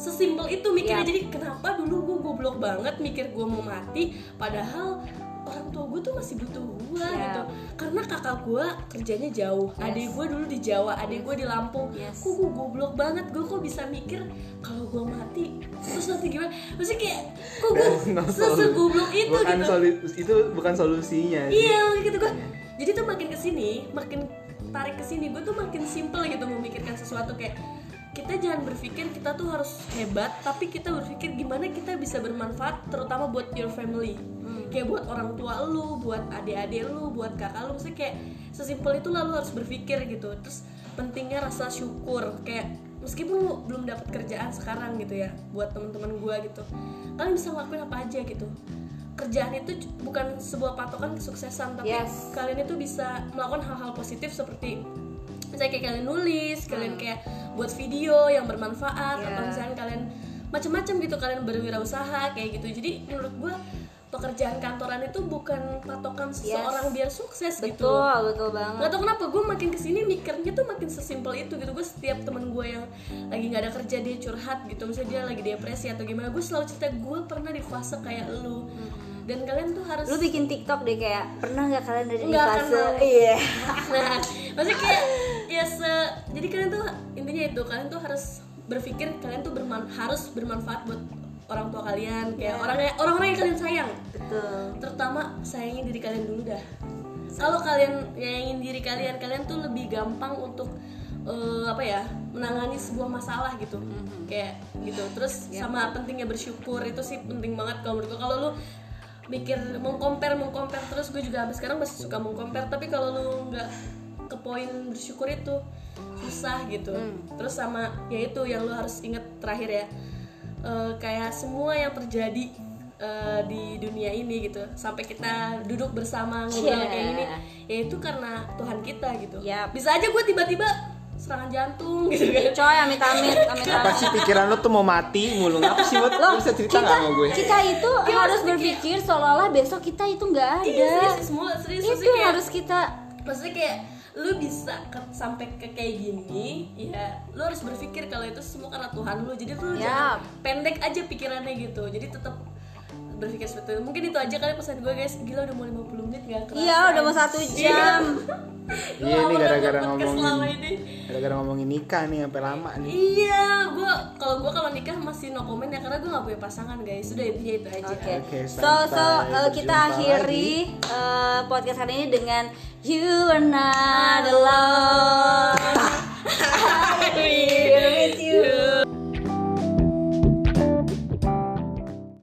S1: sesimpel itu mikirnya
S2: Iya.
S1: jadi kenapa dulu gue goblok banget mikir gue mau mati padahal orang tua gue tuh masih butuh gue
S2: Iya.
S1: gitu karena kakak gue kerjanya jauh adik gue dulu di Jawa adik gue di Lampung
S2: Yes.
S1: kok gue goblok banget gue kok bisa mikir kalau gue mati terus nanti gimana maksudnya kayak kok gue
S4: no solution.
S1: sesegoblok itu
S4: bukan
S1: gitu
S4: solu- itu bukan solusinya sih.
S1: iya gitu gue jadi tuh makin kesini makin tarik kesini gue tuh makin simple gitu memikirkan sesuatu kayak kita jangan berpikir kita tuh harus hebat tapi kita berpikir gimana kita bisa bermanfaat terutama buat your family kayak buat orang tua lu buat adik-adik lu buat kakak lu maksudnya kayak sesimpel itu lalu harus berpikir gitu terus pentingnya rasa syukur kayak meskipun lu belum dapat kerjaan sekarang gitu ya buat teman-teman gua gitu kalian bisa ngelakuin apa aja gitu kerjaan itu c- bukan sebuah patokan kesuksesan tapi
S2: Yes.
S1: kalian itu bisa melakukan hal-hal positif seperti misalnya kayak kalian nulis kalian kayak buat video yang bermanfaat
S2: Hmm. Yeah.
S1: atau misalnya kalian macam-macam gitu kalian berwirausaha kayak gitu jadi menurut gue pekerjaan kantoran itu bukan patokan seseorang biar sukses gitu
S2: Betul, betul banget.
S1: nggak tau kenapa gue makin kesini mikirnya tuh makin sesimpel itu gitu gue setiap temen gue yang lagi nggak ada kerja dia curhat gitu misalnya dia lagi depresi atau gimana gue selalu cerita gue pernah di fase kayak lu dan kalian tuh harus
S2: Lu bikin TikTok deh kayak pernah nggak kalian ada di
S1: Nggak
S2: fase?
S1: pernah.
S2: Iya.
S1: nah maksudnya kayak ya se- jadi kalian tuh intinya itu kalian tuh harus berpikir kalian tuh berman harus bermanfaat buat orang tua kalian kayak
S2: Iya.
S1: orang orang-orang yang kalian sayang
S2: Betul.
S1: Eh, terutama sayangin diri kalian dulu dah kalau kalian sayangin diri kalian kalian tuh lebih gampang untuk eh, apa ya menangani sebuah masalah gitu kayak gitu terus sama pentingnya bersyukur itu sih penting banget kalau menurut gue kalau lu mikir mengkompar mengkompar terus gue juga sampai sekarang masih suka mengkompar tapi kalau lu nggak ke poin bersyukur itu susah gitu terus sama yaitu yang lu harus inget terakhir ya eh, kayak semua yang terjadi eh, di dunia ini gitu sampai kita duduk bersama ngobrol
S2: Yeah.
S1: kayak gini ya itu karena Tuhan kita gitu
S2: Iya. Yap.
S1: bisa aja gue tiba-tiba serangan jantung gitu kan
S2: Iya, Coy, amit-amit, amit-amit.
S4: Apa sih pikiran lu tuh mau mati mulu? Apa sih buat lu bisa cerita nggak sama gue?
S2: kita itu
S1: Kita
S2: harus
S1: Iya, harus
S2: berpikir seolah-olah besok kita itu nggak
S1: Iya,
S2: ada
S1: serius semua serius
S2: itu
S1: maksudnya
S2: yang
S1: kayak-
S2: harus kita
S1: maksudnya kayak lu bisa ke- sampai ke kayak gini ya lu harus berpikir kalau itu semua karena Tuhan lu jadi lu jangan
S2: Yap.
S1: pendek aja pikirannya gitu jadi tetap berpikir seperti itu mungkin itu aja kali pesan gue guys gila udah mau 50 menit gak kerasa
S2: iya udah mau satu
S1: anjing.
S2: jam
S1: Gua
S4: Iya nih
S1: lama
S4: gara-gara
S1: banget podcast selama
S4: ngomongin
S1: ini.
S4: gara-gara ngomongin nikah nih sampai lama nih.
S1: Iya, gua kalau gua kalau nikah masih no comment ya karena gua nggak punya pasangan guys. Sudah intinya itu aja.
S2: oke
S4: Oke,
S2: so so
S4: santai.
S2: uh, kita eh,
S4: Berjumpa
S2: akhiri uh, podcast hari ini dengan you are not alone